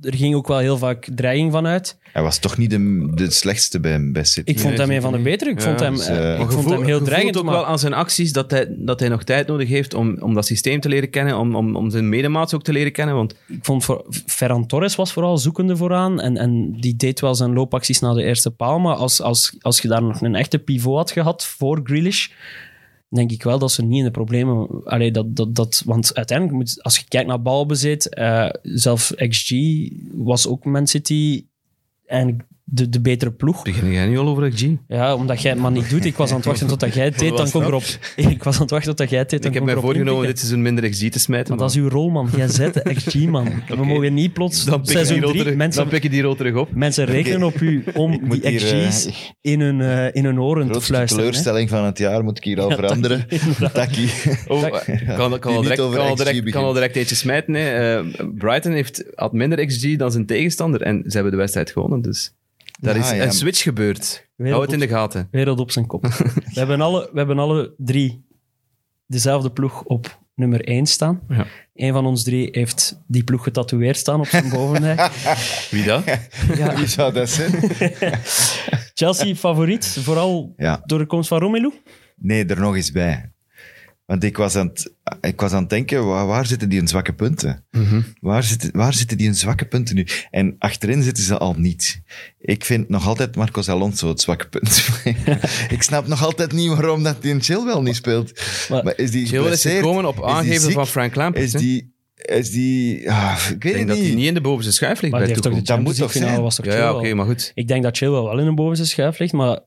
Speaker 4: er ging ook wel heel vaak dreiging van uit.
Speaker 2: Hij was toch niet de, de slechtste bij, bij City.
Speaker 4: Ik vond
Speaker 3: Nee,
Speaker 4: hem een van de
Speaker 3: niet.
Speaker 4: betere. Ik
Speaker 3: Ja,
Speaker 4: vond hem,
Speaker 2: dus,
Speaker 4: eh,
Speaker 2: eh,
Speaker 3: Maar
Speaker 4: ik vond
Speaker 3: gevoel-
Speaker 4: hem heel
Speaker 3: je
Speaker 4: dreigend.
Speaker 3: voelt ook
Speaker 4: Maar,
Speaker 3: wel aan zijn acties dat hij, dat hij nog tijd nodig heeft om, om dat systeem te leren kennen, om, om, om zijn medemaats ook te leren kennen. Want
Speaker 4: ik vond voor, Ferran Torres was vooral zoekende vooraan. En, en die deed wel zijn loopacties naar de eerste paal. Maar als, als, als je daar nog een echte pivot had gehad voor Grealish, denk ik wel dat ze niet in de problemen... Allee, dat, dat, dat, want uiteindelijk, moet, als je kijkt naar balbezit, eh zelf XG was ook Man City eigenlijk de, de betere ploeg.
Speaker 3: Begin jij nu al over XG?
Speaker 4: Ja, omdat jij het maar niet doet. Ik was aan het wachten totdat jij het deed, dan
Speaker 3: was
Speaker 4: kom ik erop.
Speaker 3: <laughs>
Speaker 4: <laughs>
Speaker 3: dat?
Speaker 4: Ik was aan het wachten totdat jij het deed, dan
Speaker 3: Ik heb
Speaker 4: kon
Speaker 3: mij
Speaker 4: ik erop
Speaker 3: voorgenomen dit
Speaker 4: inpikken.
Speaker 3: seizoen minder XG te smijten.
Speaker 4: Maar dat is uw rol, man. Jij zet de XG,
Speaker 3: <laughs>
Speaker 4: man. We mogen niet plots
Speaker 3: dan pik, je die
Speaker 4: seizoen
Speaker 3: rol
Speaker 4: 3
Speaker 3: terug, dan
Speaker 4: mensen...
Speaker 3: pik je die rol terug op.
Speaker 4: Mensen rekenen
Speaker 3: <laughs>
Speaker 4: op u om
Speaker 2: moet
Speaker 4: die
Speaker 2: hier, eh,
Speaker 4: XG's in, hun, eh, in hun oren te
Speaker 2: grootste
Speaker 4: fluisteren. hè.
Speaker 2: teleurstelling van het jaar moet ik hier al veranderen. <laughs>
Speaker 4: <laughs>
Speaker 2: Takkie.
Speaker 3: Oh, kan, kan,
Speaker 2: niet
Speaker 3: al direct,
Speaker 2: over
Speaker 3: kan, al
Speaker 2: XG
Speaker 3: direct, kan
Speaker 2: beginnen.
Speaker 3: al direct eentje smijten. Hè. Eh, Brighton heeft, had minder XG dan zijn tegenstander en ze hebben de wedstrijd gewonnen. Dus daar
Speaker 2: Ja,
Speaker 3: is
Speaker 2: Ah, ja.
Speaker 3: een switch gebeurd. Hou het in de gaten.
Speaker 4: Wereld op zijn kop. We hebben alle, we hebben alle drie dezelfde ploeg op nummer 1 staan.
Speaker 3: Ja.
Speaker 4: Eén van ons drie heeft die ploeg getatoeëerd staan op zijn bovenrij.
Speaker 3: <laughs> Wie dat?
Speaker 2: Wie zou dat zijn?
Speaker 4: Chelsea favoriet, vooral
Speaker 2: Ja.
Speaker 4: door de komst van Romelu.
Speaker 2: Nee, er nog eens bij. Want ik was aan het, ik was aan het denken, wa- waar, zitten die hun zwakke punten?
Speaker 4: Mhm.
Speaker 2: Waar, zitten, waar zitten die hun zwakke punten nu? En achterin zitten ze al niet. Ik vind nog altijd Marcos Alonso het zwakke punt. <laughs> ik snap nog altijd niet waarom dat die in Chilwell niet speelt.
Speaker 4: Maar
Speaker 2: Maar, is die
Speaker 3: Gil is
Speaker 2: geblesseerd?
Speaker 3: gekomen op
Speaker 2: Is die
Speaker 3: aangeven
Speaker 2: ziek?
Speaker 3: van Frank Lampert.
Speaker 2: Is
Speaker 3: hè.
Speaker 2: die... Is die ah, ik weet
Speaker 3: Ik denk
Speaker 2: het
Speaker 3: dat hij
Speaker 2: niet.
Speaker 3: niet in de bovenste schuif ligt
Speaker 4: Maar
Speaker 3: bij
Speaker 4: die heeft toch de
Speaker 3: Tuchel.
Speaker 2: Dat moet
Speaker 4: Champions
Speaker 2: toch
Speaker 4: League finale
Speaker 2: zijn?
Speaker 4: was toch
Speaker 3: Ja, ja
Speaker 4: Chilwell?
Speaker 3: oké, maar goed.
Speaker 4: Ik denk dat Chilwell wel in de bovenste schuif ligt, maar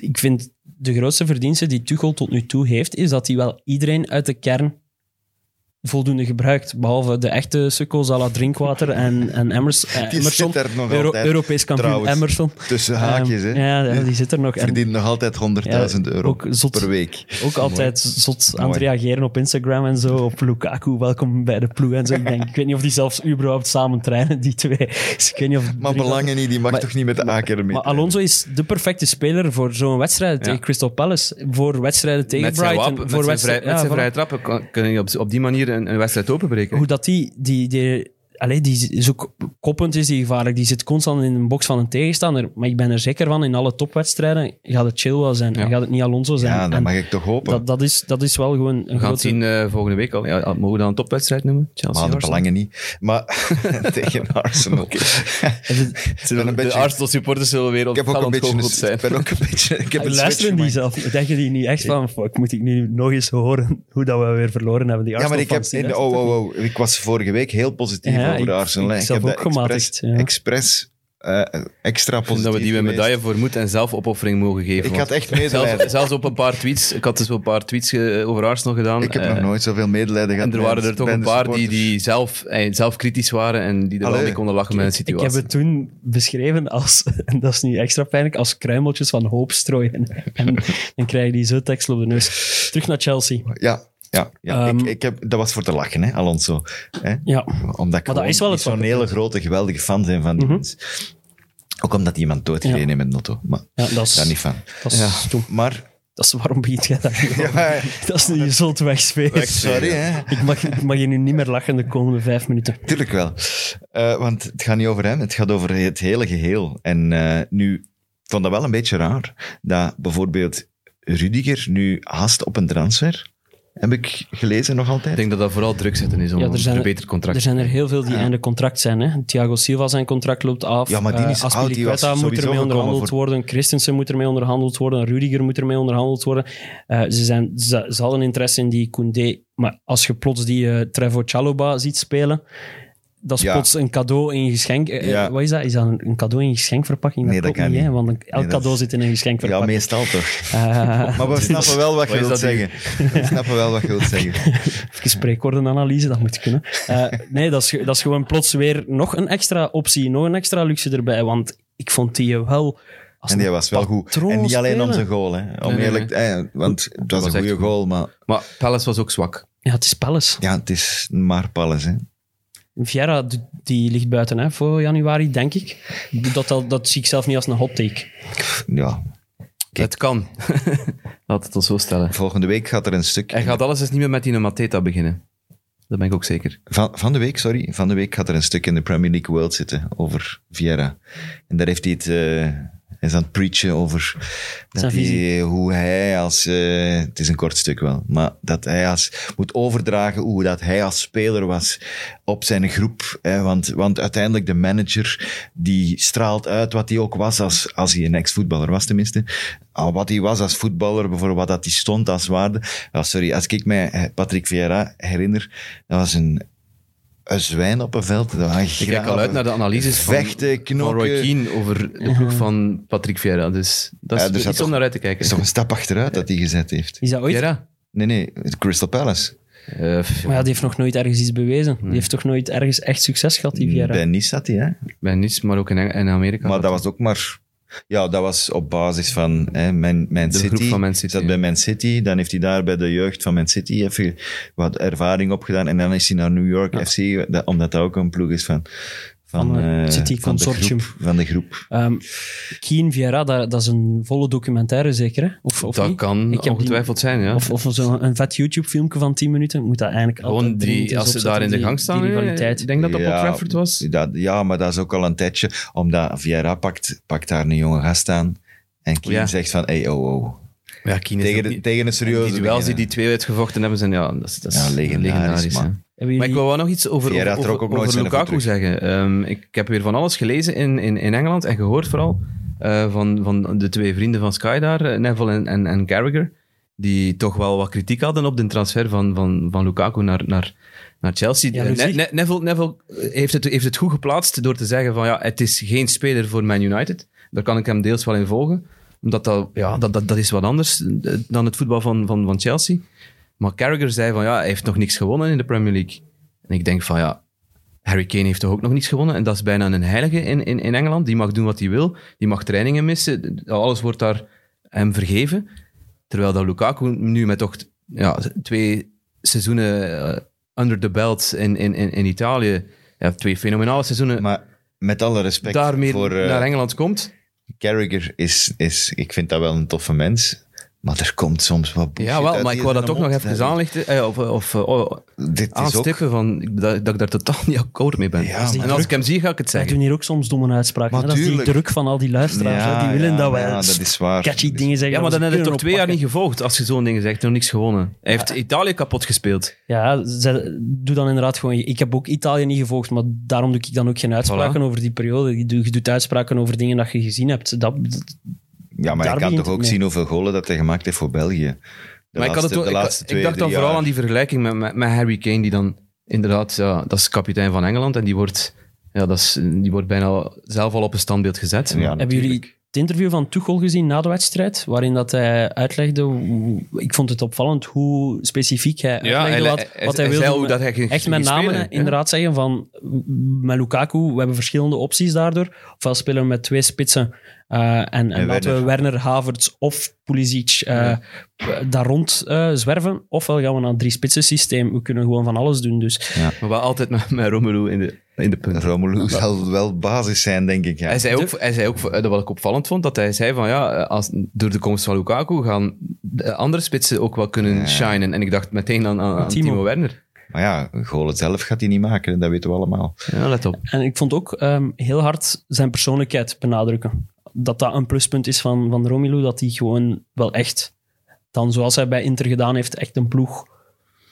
Speaker 4: ik vind de grootste verdienste die Tuchel tot nu toe heeft, is dat hij wel iedereen uit de kern voldoende gebruikt. Behalve de echte sukkels à la Drinkwater en, en Emmers, eh,
Speaker 2: Die
Speaker 4: Emerson.
Speaker 2: zit er nog
Speaker 4: Euro-
Speaker 2: altijd.
Speaker 4: Europees kampioen
Speaker 2: trouwens.
Speaker 4: Emerson.
Speaker 2: Tussen haakjes,
Speaker 4: Ehm,
Speaker 2: hè.
Speaker 4: Ja, ja, die zit er nog. En
Speaker 2: Verdient nog altijd 100.000 euro
Speaker 4: ook zot.
Speaker 2: per week.
Speaker 4: ook altijd zot aan het
Speaker 2: Mooi.
Speaker 4: reageren op Instagram en zo. Op Lukaku, welkom bij de ploeg en zo. Ik, denk, ik weet niet of die zelfs überhaupt samen trainen, die twee. Dus ik weet niet of
Speaker 2: Maar
Speaker 4: Drinkwater-
Speaker 2: belangen niet, die mag
Speaker 4: Maar-
Speaker 2: toch niet met de aker mee.
Speaker 4: Maar
Speaker 3: eh,
Speaker 4: Alonso is de perfecte speler voor zo'n wedstrijd tegen Crystal Palace. Voor wedstrijden tegen
Speaker 3: Met zijn,
Speaker 4: Brighton.
Speaker 3: wap- met
Speaker 4: voor
Speaker 3: zijn, vrij,
Speaker 4: wedstrijden-
Speaker 3: met zijn
Speaker 4: ja,
Speaker 3: vrije
Speaker 4: voilà.
Speaker 3: trappen kan- kun je op, op die manier een, een wedstrijd openbreken.
Speaker 4: Hoe dat die... die, die Allee, die is ook koppend, is die gevaarlijk. Die zit constant in een box van een tegenstander. Maar ik ben er zeker van, in alle topwedstrijden gaat het chill wel zijn. En gaat het niet Alonso zijn.
Speaker 2: Ja, dat
Speaker 4: En
Speaker 2: mag ik toch hopen.
Speaker 4: dat, dat, is, dat is wel gewoon een
Speaker 3: We gaan het
Speaker 4: grote...
Speaker 3: zien eh, volgende week al. Ja, mogen we dat een topwedstrijd noemen? Chelsea
Speaker 2: maar de
Speaker 3: Arsenal?
Speaker 2: belangen niet. Maar <laughs> tegen Arsenal.
Speaker 3: <laughs> Ze willen-
Speaker 2: een
Speaker 3: de
Speaker 2: beetje-
Speaker 3: Arsenal supporters zullen weer
Speaker 2: Ik
Speaker 3: op
Speaker 2: heb ook een
Speaker 3: talent
Speaker 2: beetje een,
Speaker 3: goed zijn.
Speaker 2: ik ben ook een beetje... Ik heb een switch
Speaker 4: Luisteren die
Speaker 2: gemaakt.
Speaker 4: zelf? <laughs> Denken die niet echt van, fuck, moet ik nu nog eens horen hoe dat we weer verloren hebben? Die
Speaker 2: Ja, maar ik heb...
Speaker 4: Arsenal-fans, die
Speaker 2: in de-
Speaker 4: luisteren
Speaker 2: oh,
Speaker 4: toch niet?
Speaker 2: oh, oh. Ik was vorige week heel positief
Speaker 4: Ja,
Speaker 2: over
Speaker 4: ik-
Speaker 2: Arsenal. hè.
Speaker 4: ik
Speaker 2: Ik,
Speaker 4: zelf
Speaker 2: heb
Speaker 4: ook
Speaker 2: dat
Speaker 4: gematigd, ja.
Speaker 2: expres eh, extra
Speaker 3: Ik vind
Speaker 2: positief
Speaker 3: dat we die met
Speaker 2: geweest.
Speaker 3: medaille voor moed en zelfopoffering mogen geven.
Speaker 2: Ik
Speaker 3: want
Speaker 2: had
Speaker 3: <laughs>
Speaker 2: echt
Speaker 3: zelfs,
Speaker 2: medelijden.
Speaker 3: zelfs op een paar tweets. Ik had dus een paar tweets eh, over Arsenal gedaan.
Speaker 2: Ik heb
Speaker 3: eh,
Speaker 2: nog nooit zoveel medelijden gehad.
Speaker 3: En er
Speaker 2: met-
Speaker 3: waren er toch
Speaker 2: met
Speaker 3: een
Speaker 2: de
Speaker 3: paar die,
Speaker 2: supporters.
Speaker 3: die zelf, eh, zelf kritisch waren en die er wel
Speaker 2: Allee.
Speaker 3: mee konden lachen met de
Speaker 4: Ik heb
Speaker 3: situatie.
Speaker 4: het toen beschreven als, <laughs> en dat is nu extra pijnlijk, als kruimeltjes van hoop strooien. <laughs> En dan krijg je die zo tekst op de neus. Terug naar Chelsea.
Speaker 2: Ja, ja, ja.
Speaker 4: Ehm,
Speaker 2: ik, ik heb, dat was voor te lachen, hè, Alonso. Hè?
Speaker 4: Ja,
Speaker 2: Omdat ik
Speaker 4: Maar dat is wel het
Speaker 2: zo'n
Speaker 4: zwarte
Speaker 2: hele grote, geweldige fan zijn van die mensen. Ook omdat die iemand doodgereden
Speaker 4: Ja.
Speaker 2: heeft met een auto. Maar
Speaker 4: ja dat, is,
Speaker 2: daar niet van.
Speaker 4: dat, is stom.
Speaker 2: Maar...
Speaker 4: dat is waarom begint jij daar nu over?
Speaker 2: <laughs> Ja,
Speaker 4: Dat is nu je zult wegsfeest.
Speaker 2: sorry, hè.
Speaker 4: Ik mag, ik mag je nu niet meer lachen de komende vijf minuten.
Speaker 2: Tuurlijk wel. Eh, want het gaat niet over hem, het gaat over het hele geheel. En eh, nu, ik vond dat wel een beetje raar, dat bijvoorbeeld Rudiger nu haast op een transfer, heb ik gelezen nog altijd.
Speaker 3: Ik denk dat dat vooral druk zetten is om
Speaker 4: Ja, er
Speaker 3: een
Speaker 4: zijn-
Speaker 3: beter contract
Speaker 4: Er zijn er heel veel die einde contract zijn. Hè. Thiago Silva zijn contract loopt af.
Speaker 2: Ja, maar die
Speaker 4: Eh,
Speaker 2: is oud, die was
Speaker 4: Aspilicueta moet
Speaker 2: sowieso
Speaker 4: ermee
Speaker 2: gekomen
Speaker 4: onderhandeld
Speaker 2: voor-
Speaker 4: worden. Christensen moet ermee onderhandeld worden. Rudiger moet ermee onderhandeld worden. Eh, ze, zijn, ze, ze hadden interesse in die Koundé. Maar als je plots die eh Trevor Chalobah ziet spelen... Dat is
Speaker 2: Ja.
Speaker 4: plots een cadeau in geschenk. eh, eh,
Speaker 2: Ja.
Speaker 4: Wat is dat? Is dat een, een cadeau in geschenkverpakking? Dat
Speaker 2: Nee, dat
Speaker 4: klopt
Speaker 2: kan
Speaker 4: niet, hè,
Speaker 2: niet.
Speaker 4: want een- elk
Speaker 2: Nee, dat
Speaker 4: cadeau
Speaker 2: is-
Speaker 4: zit in een
Speaker 2: Ja,
Speaker 4: geschenkverpakking.
Speaker 2: meestal
Speaker 3: <laughs>
Speaker 2: toch.
Speaker 4: <laughs> Eh,
Speaker 2: Maar we snappen wel wat
Speaker 3: Wat
Speaker 2: je
Speaker 3: is
Speaker 2: wilt
Speaker 3: dat
Speaker 2: zeggen. We snappen wel wat je wilt
Speaker 3: <laughs>
Speaker 2: zeggen.
Speaker 4: Even spreekwoordenanalyse, dat moet kunnen. Eh, nee, dat is, ge- dat is gewoon plots weer nog een extra optie, nog een extra luxe erbij. Want ik vond die wel... Als
Speaker 2: En die
Speaker 4: een
Speaker 2: was wel goed.
Speaker 4: patroon
Speaker 2: En niet alleen om
Speaker 4: spelen.
Speaker 2: zijn goal, hè. Om
Speaker 3: Nee, nee,
Speaker 2: eerlijk... eh, want het was
Speaker 3: was
Speaker 2: een
Speaker 3: echt
Speaker 2: goede
Speaker 3: goed.
Speaker 2: goal, maar...
Speaker 3: Maar Palace was ook zwak.
Speaker 4: Ja, het is Palace.
Speaker 2: Ja, het is maar Palace, hè.
Speaker 4: Vieira, d- die ligt buiten hè, voor januari, denk ik. Dat, dat, dat zie ik zelf niet als een hot take.
Speaker 2: Ja,
Speaker 3: Het kan. <laughs> Laat het ons zo stellen.
Speaker 2: volgende week gaat er een stuk...
Speaker 3: Hij gaat alles eens niet meer met die Mateta beginnen. Dat ben ik ook zeker.
Speaker 2: Van, van de week, sorry. Van de week gaat er een stuk in de Premier League World zitten over Vieira. En daar heeft hij het, eh, is aan het preachen over dat
Speaker 4: Zijn
Speaker 2: hij-
Speaker 4: visie.
Speaker 2: hoe hij als... eh, het is een kort stuk wel, maar dat hij als... Moet overdragen hoe dat hij als speler was op zijn groep. Hè, want, want uiteindelijk de manager, die straalt uit wat hij ook was als, als hij een ex-voetballer was tenminste. Al wat hij was als voetballer, bijvoorbeeld wat dat hij stond als waarde. Ja, sorry, als ik mij eh, Patrick Vieira herinner, dat was een... Een zwijn op een veld. Dat was
Speaker 3: Ik kijk al uit naar de analyses van,
Speaker 2: Vechten,
Speaker 3: van Roy
Speaker 2: knokken.
Speaker 3: Keane over de ploeg van Patrick Vieira. Dus dat is
Speaker 2: Ja, dus dat
Speaker 3: iets om
Speaker 2: toch-
Speaker 3: naar uit te
Speaker 2: Het is toch
Speaker 3: kijken.
Speaker 2: een stap achteruit dat hij gezet heeft.
Speaker 4: Is dat ooit?
Speaker 3: Vieira?
Speaker 2: Nee, nee, het Crystal Palace.
Speaker 3: Eh, pff,
Speaker 4: Maar ja, die heeft nog nooit ergens iets bewezen.
Speaker 2: Hmm.
Speaker 4: Die heeft toch nooit ergens echt succes gehad, die Vieira?
Speaker 2: Bij Nice zat hij, hè?
Speaker 3: Bij niets, maar ook in, Eng- in Amerika.
Speaker 2: Maar dat was ook maar... Ja, dat was op basis van hè, Man, Man
Speaker 3: De
Speaker 2: City.
Speaker 3: groep van Man City,
Speaker 2: Zat bij Man City. Dan heeft hij daar bij de jeugd van Man City even wat ervaring opgedaan. En dan is hij naar New York FC, dat- omdat dat ook een ploeg is van... Van,
Speaker 4: Van, eh,
Speaker 2: eh,
Speaker 4: City
Speaker 2: van de
Speaker 4: Consortium.
Speaker 2: groep- Van de groep.
Speaker 4: Ehm Keen Vieira, dat, dat is een volle documentaire zeker, hè? Of, of
Speaker 3: dat
Speaker 4: niet?
Speaker 3: kan
Speaker 4: Ik heb die-
Speaker 3: ongetwijfeld zijn, ja.
Speaker 4: Of, of zo'n een vet YouTube-filmpje van 10 minuten. Ik Moet dat eigenlijk
Speaker 3: Gewoon
Speaker 4: altijd dringend
Speaker 3: die,
Speaker 4: eens
Speaker 3: als ze daar
Speaker 4: opzetten,
Speaker 3: in de
Speaker 4: die-
Speaker 3: gang staan.
Speaker 4: Die
Speaker 3: hè.
Speaker 4: rivaliteit.
Speaker 3: Ik denk dat dat op
Speaker 2: Ja,
Speaker 3: Trafford was.
Speaker 2: Dat, ja, maar dat is ook al een tijdje. Omdat Vieira pakt, pakt daar een jonge gast aan. En Keen
Speaker 3: Ja.
Speaker 2: zegt van, hey, oh, oh.
Speaker 3: Ja, Keane is
Speaker 2: Tegen,
Speaker 3: ook
Speaker 2: de-
Speaker 3: niet-
Speaker 2: tegen een serieuze...
Speaker 3: Die duels die
Speaker 2: beginner.
Speaker 3: die twee uitgevochten hebben, zijn ja, dat is, dat is
Speaker 2: Ja, legendarisch, man.
Speaker 3: hè.
Speaker 4: Hebben
Speaker 3: Maar
Speaker 4: jullie-
Speaker 3: ik wil wel nog iets over,
Speaker 2: Vieira
Speaker 3: over,
Speaker 2: trok ook
Speaker 3: over-
Speaker 2: nooit
Speaker 3: over
Speaker 2: zijn voet
Speaker 3: Lukaku
Speaker 2: terug.
Speaker 3: zeggen. Ehm, ik heb weer van alles gelezen in, in, in Engeland en gehoord vooral eh, van, van de twee vrienden van Sky daar, eh, Neville en, en, en Carragher, die toch wel wat kritiek hadden op de transfer van, van, van Lukaku naar, naar, naar Chelsea.
Speaker 4: Ja,
Speaker 3: Eh,
Speaker 4: Lucie.
Speaker 3: Ne- Ne- Neville, Neville eh, heeft, het, heeft het goed geplaatst door te zeggen van ja, het is geen speler voor Man United. Daar kan ik hem deels wel in volgen. Omdat dat, ja, dat, dat, dat is wat anders eh, dan het voetbal van, van, van Chelsea. Maar Carragher zei van ja, hij heeft nog niks gewonnen in de Premier League. En ik denk van ja, Harry Kane heeft toch ook nog niets gewonnen. En dat is bijna een heilige in, in, in Engeland. Die mag doen wat hij wil. Die mag trainingen missen. Alles wordt daar hem vergeven. Terwijl dat Lukaku nu met toch ja, twee seizoenen eh, under the belt in, in, in, in Italië. Ja, twee fenomenale seizoenen.
Speaker 2: Maar met alle respect
Speaker 3: daarmee
Speaker 2: voor eh,
Speaker 3: naar Engeland komt.
Speaker 2: Carragher is, is... Ik vind dat wel een toffe mens. Maar er komt soms wat bullshit
Speaker 3: Ja, wel,
Speaker 2: uit
Speaker 3: maar ik
Speaker 2: die
Speaker 3: wou dat
Speaker 2: zijn
Speaker 3: toch nog
Speaker 2: mond.
Speaker 3: even aanlichten. eh, of eh, of eh, oh,
Speaker 2: Dit is ook...
Speaker 3: aanstippen van, dat, dat ik daar totaal niet akkoord mee ben.
Speaker 2: Ja,
Speaker 3: en als
Speaker 4: maar-
Speaker 3: ik hem zie, ga ik het
Speaker 4: Wij
Speaker 3: zeggen.
Speaker 4: doen hier ook soms domme uitspraken.
Speaker 2: Maar
Speaker 4: hè. Dat is die
Speaker 2: tuurlijk.
Speaker 4: druk van al die luisteraars.
Speaker 2: Ja,
Speaker 4: hè. Die willen
Speaker 2: ja,
Speaker 4: dat wij
Speaker 2: ja, dat is waar.
Speaker 4: catchy dingen zeggen.
Speaker 3: Ja, maar
Speaker 4: dat
Speaker 3: dan
Speaker 4: we
Speaker 3: heb je toch
Speaker 4: kunnen
Speaker 3: twee jaar niet
Speaker 4: oppakken.
Speaker 3: gevolgd als je zo'n ding zegt. Nog niks gewonnen. Hij heeft Italië kapot gespeeld.
Speaker 4: Ja, ze- doe dan inderdaad gewoon... Ik heb ook Italië niet gevolgd, maar daarom doe ik dan ook geen uitspraken over die periode. Je doet, je doet uitspraken over dingen dat je gezien hebt. Dat,
Speaker 2: Ja, maar
Speaker 4: Daar
Speaker 2: je kan
Speaker 4: begint
Speaker 2: toch
Speaker 4: het
Speaker 2: ook
Speaker 4: mee.
Speaker 2: zien hoeveel golen dat hij gemaakt heeft voor België. De
Speaker 3: maar ik, had
Speaker 2: laatste-
Speaker 3: het ook-
Speaker 2: de
Speaker 3: ik-
Speaker 2: laatste
Speaker 3: ik,
Speaker 2: twee,
Speaker 3: dacht dan
Speaker 2: drie
Speaker 3: vooral
Speaker 2: jaar.
Speaker 3: aan die vergelijking met, met, met Harry Kane, die dan inderdaad, ja, dat is kapitein van Engeland en die wordt, ja, dat is, die wordt bijna zelf al op een standbeeld gezet.
Speaker 2: Ja,
Speaker 3: Maar-
Speaker 4: Hebben jullie het interview van Tuchel gezien na de wedstrijd? Waarin dat hij uitlegde... hoe- Ik vond het opvallend hoe specifiek hij uitlegde
Speaker 3: hij-
Speaker 4: wat,
Speaker 3: hij-
Speaker 4: wat hij,
Speaker 3: hij
Speaker 4: wilde.
Speaker 3: zei hoe
Speaker 4: met-
Speaker 3: dat hij ging-
Speaker 4: echt
Speaker 3: ging
Speaker 4: met name
Speaker 3: spelen, ja.
Speaker 4: inderdaad zeggen van... m- Met Lukaku, we hebben verschillende opties daardoor. Ofwel spelen we met twee spitsen... eh, en en
Speaker 2: En
Speaker 4: laten we Werner Havertz of Pulisic eh, daar rond eh, zwerven. Ofwel gaan we naar een drie spitsen systeem. We kunnen gewoon van alles doen. Dus
Speaker 3: Maar wel altijd met, met Romelu in de, in de punt.
Speaker 2: Romelu zal wel basis zijn, denk ik. Ja.
Speaker 3: Hij zei, ook, hij zei ook, eh, dat wat ik opvallend vond, dat hij zei van ja, eh, als, door de komst van Lukaku gaan de andere spitsen ook wel kunnen shinen. En ik dacht meteen aan, aan, aan
Speaker 4: Timo.
Speaker 3: Timo. Werner.
Speaker 2: Maar ja, golen zelf gaat hij niet maken, hè, dat weten we allemaal.
Speaker 3: Ja, let op.
Speaker 4: En ik vond ook ehm, heel hard zijn persoonlijkheid benadrukken. Dat dat een pluspunt is van, van Romelu, dat hij gewoon wel echt, dan zoals hij bij Inter gedaan heeft, echt een ploeg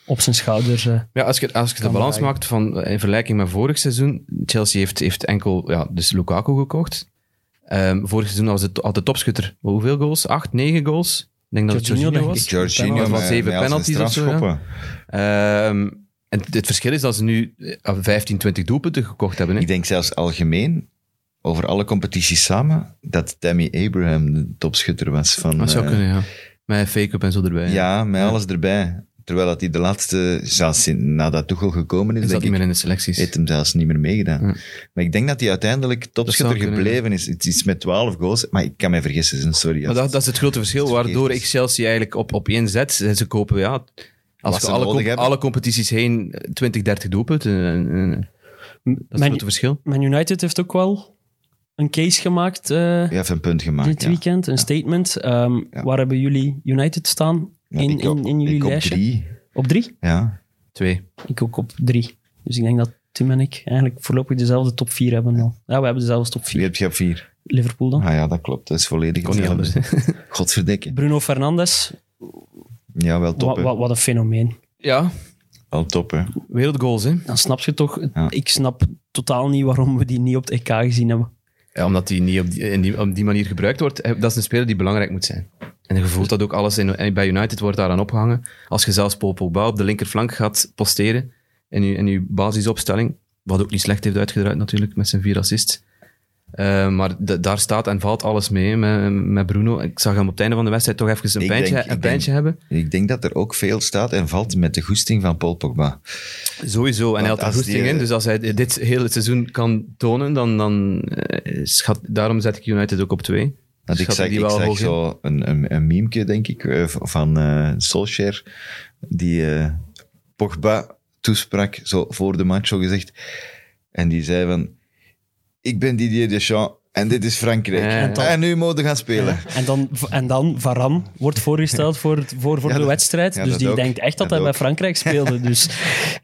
Speaker 4: op zijn schouders. eh.
Speaker 3: Ja, als je, als je de
Speaker 4: Kan
Speaker 3: balans
Speaker 4: draaien.
Speaker 3: maakt van, eh, in vergelijking met vorig seizoen, Chelsea heeft, heeft enkel ja, dus Lukaku gekocht. Ehm, vorig seizoen was het altijd topschutter. Hoeveel goals? Acht, negen goals? Ik denk dat het
Speaker 4: Jorginho,
Speaker 3: Jorginho
Speaker 4: denk
Speaker 3: was.
Speaker 4: ik.
Speaker 2: Jorginho
Speaker 3: Penalty.
Speaker 2: met-
Speaker 3: Van zeven
Speaker 2: met al zijn
Speaker 3: penalties of zo, ja.
Speaker 2: strafschoppen.
Speaker 3: Ehm, en het, het verschil is dat ze nu eh, 15, 20 doelpunten gekocht hebben. Hè?
Speaker 2: Ik denk zelfs algemeen, over alle competities samen, dat Tammy Abraham de topschutter was van...
Speaker 3: dat zou
Speaker 2: eh,
Speaker 3: kunnen, ja. Met fake-up en zo erbij. hè.
Speaker 2: Ja, met alles erbij. Terwijl dat hij de laatste, zelfs sin- nadat Tuchel gekomen is,
Speaker 3: Is dat
Speaker 2: denk ik,
Speaker 3: niet meer in de selecties?
Speaker 2: heeft hem zelfs niet meer meegedaan.
Speaker 3: Ja.
Speaker 2: Maar ik denk dat hij uiteindelijk topschutter
Speaker 3: Dat zou kunnen,
Speaker 2: gebleven is. Het is met 12 goals, maar ik kan mij vergissen, sorry.
Speaker 3: Maar
Speaker 2: als-
Speaker 3: dat, dat is het grote verschil,
Speaker 2: als het verkeerd
Speaker 3: waardoor
Speaker 2: is.
Speaker 3: ik Chelsea eigenlijk op, op één zet. Ze ze kopen, ja... Als
Speaker 2: Wat
Speaker 3: we
Speaker 2: ze
Speaker 3: alle,
Speaker 2: nodig
Speaker 3: comp-
Speaker 2: hebben.
Speaker 3: alle competities heen eh, 20, 30 doelpunten. en- en- en- Dat is het
Speaker 4: Man,
Speaker 3: grote verschil.
Speaker 4: Man United heeft ook wel een case gemaakt eh,
Speaker 2: Hij heeft een punt gemaakt.
Speaker 4: dit
Speaker 2: ja.
Speaker 4: weekend, een statement. Ehm,
Speaker 2: Ja.
Speaker 4: Waar hebben jullie United staan
Speaker 2: Ja,
Speaker 4: in,
Speaker 2: ik op-
Speaker 4: in, in jullie
Speaker 2: ik op
Speaker 4: lijstje?
Speaker 2: drie.
Speaker 4: Op drie?
Speaker 2: Ja.
Speaker 3: Twee.
Speaker 4: Ik ook op drie. Dus ik denk dat Tim en ik eigenlijk voorlopig dezelfde top 4 hebben dan. Ja, we hebben dezelfde top 4.
Speaker 2: Wie heb je op vier?
Speaker 4: Liverpool dan.
Speaker 2: Ah ja, dat klopt. Dat is volledig
Speaker 3: Oh. Kon niet
Speaker 2: hetzelfde. <laughs> Godverdikke.
Speaker 4: Bruno Fernandes,
Speaker 2: Ja, wel top.
Speaker 4: wat,
Speaker 2: hè.
Speaker 4: wat, wat een fenomeen.
Speaker 3: Ja,
Speaker 2: Wel top, hè.
Speaker 3: wereldgoals, hè.
Speaker 4: Dan snap je toch,
Speaker 2: Ja.
Speaker 4: ik snap totaal niet waarom we die niet op het EK gezien hebben.
Speaker 3: Ja, omdat die niet op die, in die, op die manier gebruikt wordt. eh, Dat is een speler die belangrijk moet zijn. En je voelt dat ook alles in, en bij United wordt daaraan opgehangen. Als je zelfs Paul Pogba op de linkerflank gaat posteren in je, in je basisopstelling, wat ook niet slecht heeft uitgedraaid natuurlijk met zijn vier assists. Eh, maar da- daar staat en valt alles mee met, met Bruno. Ik zag hem op het einde van de wedstrijd toch even een
Speaker 2: Ik
Speaker 3: pijntje,
Speaker 2: denk- ik
Speaker 3: een pijntje hebben.
Speaker 2: Ik denk dat er ook veel staat en valt met de goesting van Paul Pogba.
Speaker 3: Sowieso, en
Speaker 2: Want
Speaker 3: hij had er
Speaker 2: als
Speaker 3: goesting
Speaker 2: die,
Speaker 3: in.
Speaker 2: eh,
Speaker 3: Dus als hij dit heel het seizoen kan tonen, dan, dan eh, schat, daarom zet ik United ook op twee.
Speaker 2: Want ik
Speaker 3: Schat
Speaker 2: zag,
Speaker 3: die
Speaker 2: ik
Speaker 3: wel
Speaker 2: zag
Speaker 3: hoog in?
Speaker 2: zo een, een, een memeke, denk ik, eh, v- van eh Solskjaer, die eh, Pogba toesprak, zo voor de match zo gezegd. En die zei van, ik ben Didier Deschamps en dit is Frankrijk.
Speaker 3: Ja,
Speaker 2: en,
Speaker 3: ja.
Speaker 2: nu mogen we gaan spelen.
Speaker 4: En dan, en dan Varan wordt voorgesteld voor, het- voor, voor
Speaker 2: Ja,
Speaker 4: de
Speaker 2: dat-
Speaker 4: wedstrijd.
Speaker 2: ja,
Speaker 4: dus
Speaker 2: dat
Speaker 4: die
Speaker 2: ook.
Speaker 4: denkt echt
Speaker 2: Dat
Speaker 4: dat, hij
Speaker 2: ook.
Speaker 4: bij Frankrijk
Speaker 2: <laughs>
Speaker 4: speelde. Dus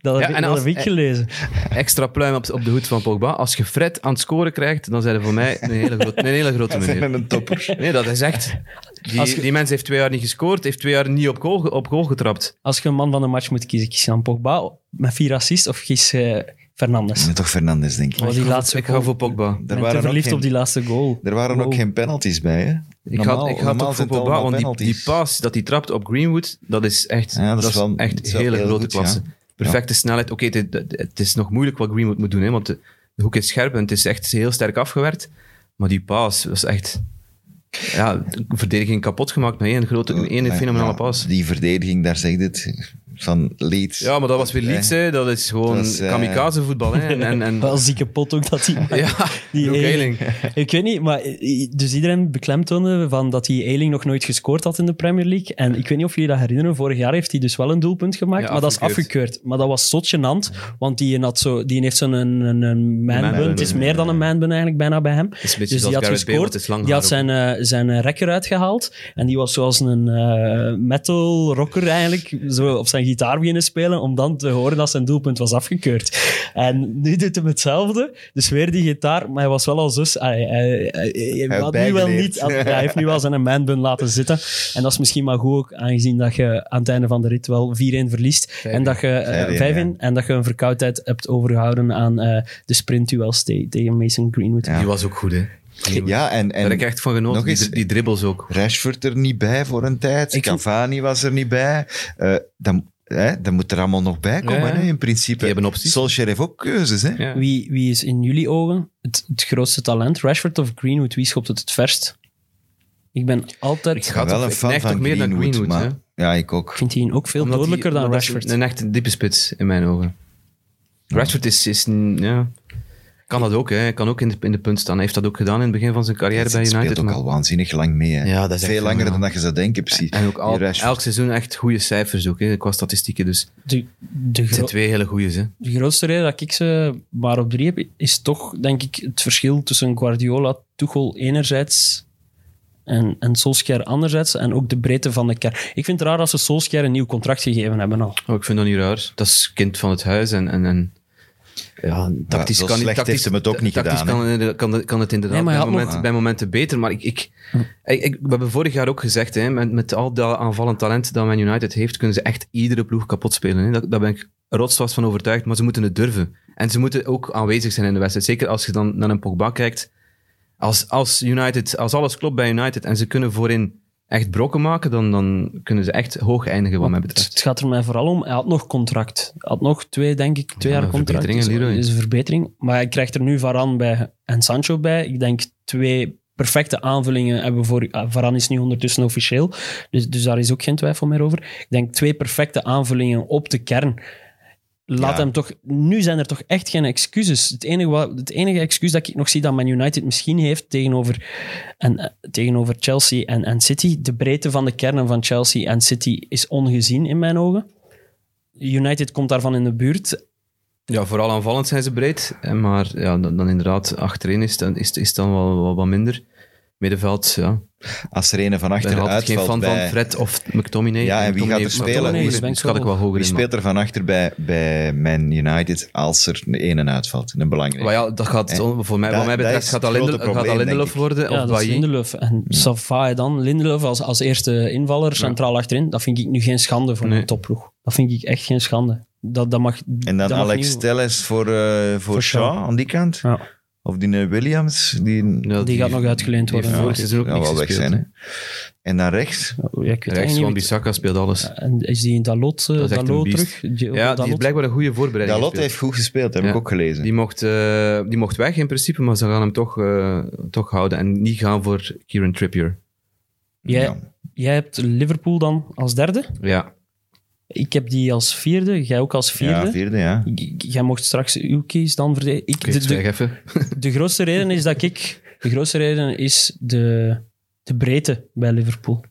Speaker 4: dat heb,
Speaker 3: Ja,
Speaker 4: ik-
Speaker 3: en
Speaker 4: dat
Speaker 3: als-
Speaker 4: heb ik gelezen.
Speaker 3: Extra pluim op, op de hoed van Pogba. Als je Fred aan het scoren krijgt, dan zijn er voor mij een hele, groot, een hele
Speaker 2: <laughs>
Speaker 3: grote meneer.
Speaker 2: En een topper.
Speaker 3: Nee, dat is echt. Die,
Speaker 4: Als je-
Speaker 3: die mens heeft twee jaar niet gescoord, heeft twee jaar niet op goal, ge- op goal getrapt.
Speaker 4: Als je een man van de match moet kiezen, kies je dan Pogba met vier assists of kies eh, Fernandes?
Speaker 2: Maar toch Fernandes, denk ik.
Speaker 4: Oh, die laatste
Speaker 3: Ik ga
Speaker 4: goal.
Speaker 3: voor Pogba.
Speaker 4: Ik
Speaker 2: Er
Speaker 4: ben te
Speaker 2: waren, ook
Speaker 4: verliefd
Speaker 2: geen,
Speaker 4: op die laatste goal.
Speaker 2: er waren ook
Speaker 4: Wow.
Speaker 2: geen penalties bij, hè?
Speaker 3: Ik had,
Speaker 2: normaal
Speaker 3: ik had toch voor
Speaker 2: zijn het
Speaker 3: Pogba,
Speaker 2: allemaal
Speaker 3: want die,
Speaker 2: penalties.
Speaker 3: die pass dat hij trapt op Greenwood, dat is echt,
Speaker 2: Ja, dat is
Speaker 3: dat is
Speaker 2: wel- dat
Speaker 3: echt
Speaker 2: is wel
Speaker 3: hele
Speaker 2: heel
Speaker 3: grote
Speaker 2: goed,
Speaker 3: klasse.
Speaker 2: ja.
Speaker 3: Perfecte snelheid. Oké, het, het- het is nog moeilijk wat Greenwood moet doen, hè, want de, de hoek is scherp en het is echt heel sterk afgewerkt. Maar die pass was echt... Ja, de verdediging kapot gemaakt met één grote, één
Speaker 2: Ja,
Speaker 3: fenomenale
Speaker 2: Oh, ja,
Speaker 3: pass.
Speaker 2: Die verdediging, daar zegt het, van Leeds.
Speaker 3: Ja, maar dat was weer Leeds, hè. Dat is gewoon
Speaker 2: Dat is, eh,
Speaker 3: kamikaze voetbal, hè. En, en, en,
Speaker 2: <laughs>
Speaker 4: Wel zieke pot ook dat hij...
Speaker 3: ja,
Speaker 4: <laughs> Die
Speaker 3: Luke
Speaker 4: Eiling.
Speaker 3: Eiling.
Speaker 4: Ik weet niet, maar i- i- dus iedereen beklemtoonde van dat hij Eiling nog nooit gescoord had in de Premier League. En ik weet niet of jullie dat herinneren, vorig jaar heeft hij dus wel een doelpunt gemaakt,
Speaker 3: Ja,
Speaker 4: maar dat is
Speaker 3: afgekeurd.
Speaker 4: afgekeurd. Maar dat was zo gênant, want die, had zo, die heeft zo'n een, een, een man
Speaker 3: Man
Speaker 4: bun.
Speaker 3: bun,
Speaker 4: Het is
Speaker 3: ja.
Speaker 4: meer dan een man bun eigenlijk bijna bij hem.
Speaker 3: Dat is een beetje
Speaker 4: Dus die
Speaker 3: zoals
Speaker 4: had
Speaker 3: Gareth Bale, want
Speaker 4: gescoord,
Speaker 3: het is lang
Speaker 4: die had
Speaker 3: haar ook.
Speaker 4: zijn, eh, zijn eh, rekker uitgehaald en die was zoals een eh, metal rocker eigenlijk zo op zijn gitaar beginnen spelen om dan te horen dat zijn doelpunt was afgekeurd. En nu doet hij hetzelfde, dus weer die gitaar, maar hij was wel al zus. Hij, hij, hij- hij
Speaker 2: had
Speaker 4: had nu wel
Speaker 2: bijgeleerd.
Speaker 4: niet, hij hij heeft nu wel zijn manbun laten zitten en dat is misschien maar goed ook, aangezien dat je aan het einde van de rit wel 4-1 verliest en dat je eh,
Speaker 2: 5-1,
Speaker 4: 5-1 en dat je een verkoudheid hebt overgehouden aan eh, de sprintduels te- tegen Mason Greenwood.
Speaker 2: Ja.
Speaker 3: Die was ook goed, hè. Greenwood.
Speaker 2: Ja, en,
Speaker 3: Daar
Speaker 2: en
Speaker 3: heb ik echt van genoten.
Speaker 2: nog
Speaker 3: Die,
Speaker 2: eens-
Speaker 3: dri- die dribbles ook.
Speaker 2: Rashford er niet bij voor een tijd.
Speaker 4: Ik-
Speaker 2: Cavani was er niet bij. Eh dan, hè, dan moet er allemaal nog bij komen,
Speaker 3: Ja.
Speaker 2: hè, in principe.
Speaker 3: Die hebben opties.
Speaker 2: Solskjaer heeft ook keuzes, hè?
Speaker 3: Ja.
Speaker 4: Wie, wie is in jullie ogen het, het grootste talent? Rashford of Greenwood? Wie schopt het het verst? Ik ben altijd...
Speaker 3: Ik
Speaker 4: Ik,
Speaker 2: Ik
Speaker 3: ga
Speaker 2: ben wel
Speaker 3: toch-
Speaker 2: een
Speaker 3: ik
Speaker 2: fan
Speaker 3: neig toch
Speaker 2: van
Speaker 3: meer naar
Speaker 2: Greenwood,
Speaker 3: Greenwood,
Speaker 2: maar...
Speaker 3: hè.
Speaker 2: Ja, ik ook.
Speaker 4: vind die ook veel
Speaker 3: Omdat die-
Speaker 4: dodelijker dan
Speaker 3: omdat die
Speaker 4: Rashford.
Speaker 3: Een echte diepe spits, in mijn ogen. Rashford is... is een- ja. Kan dat ook, hè. Hij Kan ook in de, in de punt staan. Hij heeft dat ook gedaan in het begin van zijn carrière
Speaker 2: Het
Speaker 3: bij United.
Speaker 2: speelt ook
Speaker 3: maar-
Speaker 2: al waanzinnig lang mee, hè.
Speaker 3: Ja, dat is echt
Speaker 2: Veel langer
Speaker 3: fenomenaal.
Speaker 2: dan dat je zou denken, precies.
Speaker 3: En ook al,
Speaker 2: Die Rashford.
Speaker 3: elk seizoen echt goede cijfers ook, hè, qua statistieken. Dus
Speaker 4: De, de,
Speaker 3: het
Speaker 4: gro-
Speaker 3: zijn twee hele goede. hè.
Speaker 4: de grootste reden dat ik ze maar op drie heb, is toch, denk ik, het verschil tussen Guardiola, Tuchel enerzijds en, en Solskjaer anderzijds en ook de breedte van de kern. Ik vind het raar dat ze Solskjaer een nieuw contract gegeven hebben al.
Speaker 3: Oh, ik vind dat niet raar. Dat is kind van het huis en... en, en ja, tactisch
Speaker 2: zo
Speaker 3: kan niet-
Speaker 2: slecht
Speaker 3: tactisch-
Speaker 2: heeft hem het ook niet
Speaker 3: tactisch
Speaker 2: gedaan,
Speaker 3: Kan, eh, kan, kan het inderdaad
Speaker 4: Nee, maar
Speaker 3: bij,
Speaker 4: hij had nog-
Speaker 3: momenten- bij momenten beter. Maar ik, ik, ik, ik- we hebben vorig jaar ook gezegd, hè, met, met al dat aanvallend talent dat Man United heeft, kunnen ze echt iedere ploeg kapot spelen. Hè. Daar, daar ben ik rotsvast van overtuigd. Maar ze moeten het durven. En ze moeten ook aanwezig zijn in de wedstrijd. Zeker als je dan naar een Pogba kijkt. Als, als, United, als alles klopt bij United en ze kunnen voorin echt brokken maken, dan, dan kunnen ze echt hoog eindigen wat mij
Speaker 4: Het,
Speaker 3: betreft.
Speaker 4: het gaat er mij vooral om, hij had nog contract. Hij had nog twee, denk ik, twee
Speaker 3: Ja,
Speaker 4: jaar
Speaker 3: een
Speaker 4: contract.
Speaker 3: verbetering,
Speaker 4: is,
Speaker 3: Leroy.
Speaker 4: is een verbetering. Maar hij krijgt er nu Varan bij en Sancho bij. Ik denk twee perfecte aanvullingen hebben we voor... ah, Varan is nu ondertussen officieel, dus, dus daar is ook geen twijfel meer over. Ik denk twee perfecte aanvullingen op de kern. Laat
Speaker 2: Ja.
Speaker 4: hem toch... Nu zijn er toch echt geen excuses. Het enige, wa- het enige excuus dat ik nog zie dat Man United misschien heeft tegenover, en, eh, tegenover Chelsea en, en City, de breedte van de kernen van Chelsea en City is ongezien in mijn ogen. United komt daarvan in de buurt.
Speaker 3: Ja, vooral aanvallend zijn ze breed. eh, Maar ja, dan, dan inderdaad, achterin is, dan, is, is dan wel, wel wat minder. Middenveld, ja.
Speaker 2: Als er een van
Speaker 3: Ik ben
Speaker 2: achteruit
Speaker 3: nog altijd geen
Speaker 2: valt
Speaker 3: fan
Speaker 2: bij...
Speaker 3: van Fred of McTominay.
Speaker 2: Ja, en wie gaat er spelen?
Speaker 3: McTominay is-
Speaker 4: McTominay is
Speaker 3: Dus had ik wel hoger
Speaker 2: Wie
Speaker 3: in.
Speaker 2: speelt er van achter bij, bij Man United als er een en uitvalt? Een belangrijke.
Speaker 3: Maar ja, dat gaat,
Speaker 2: Eh,
Speaker 3: voor mij,
Speaker 2: dat-
Speaker 3: wat mij
Speaker 2: dat
Speaker 3: betreft
Speaker 2: is het
Speaker 3: gaat dat, Linde,
Speaker 2: grote probleem, denk
Speaker 3: gaat dat Lindelof
Speaker 2: ik.
Speaker 3: worden
Speaker 4: Ja,
Speaker 3: of
Speaker 4: dat is
Speaker 3: Bailly.
Speaker 4: Lindelof. En Sava dan, Lindelof als, als eerste invaller, centraal achterin, dat vind ik nu geen schande voor
Speaker 3: Nee.
Speaker 4: een topploeg. Dat vind ik echt geen schande. Dat, dat mag,
Speaker 2: En dan
Speaker 4: dat mag
Speaker 2: Alex
Speaker 4: niet-
Speaker 2: Telles voor, eh, voor,
Speaker 4: Voor Shaw.
Speaker 2: Shaw aan die kant.
Speaker 4: Ja.
Speaker 2: Of die eh, Williams. Die,
Speaker 3: Ja,
Speaker 4: Die gaat nog uitgeleend
Speaker 3: die
Speaker 4: worden.
Speaker 3: heeft
Speaker 2: Ja,
Speaker 3: Vorig seizoen ook
Speaker 2: kan
Speaker 3: niks
Speaker 2: wel weg
Speaker 3: gespeeld.
Speaker 2: zijn. Hè? En dan rechts.
Speaker 4: Ja, ik weet het eigenlijk
Speaker 3: Rechts
Speaker 4: niet
Speaker 3: van
Speaker 4: meer.
Speaker 3: Bissaka speelt alles.
Speaker 4: En is die in Dalot, eh,
Speaker 3: Dat is echt een
Speaker 4: Dalot
Speaker 3: beest.
Speaker 4: terug? Die-
Speaker 3: Ja, die
Speaker 4: Dalot?
Speaker 3: heeft blijkbaar een goede voorbereiding
Speaker 2: Dalot
Speaker 3: gespeeld.
Speaker 2: heeft goed gespeeld, heb
Speaker 3: Ja.
Speaker 2: ik ook gelezen.
Speaker 3: Die mocht, eh, die mocht weg in principe, maar ze gaan hem toch, eh, toch houden en niet gaan voor Kieran Trippier.
Speaker 4: Jij,
Speaker 2: Ja.
Speaker 4: jij hebt Liverpool dan als derde.
Speaker 3: Ja,
Speaker 4: Ik heb die als vierde. Jij ook als vierde.
Speaker 2: Ja, vierde, ja.
Speaker 4: J- Jij mocht straks uw kees dan verdedigen. Ik-
Speaker 3: ik
Speaker 4: de, de,
Speaker 3: zeg even.
Speaker 4: de grootste reden is dat ik... De grootste reden is de, de breedte bij Liverpool.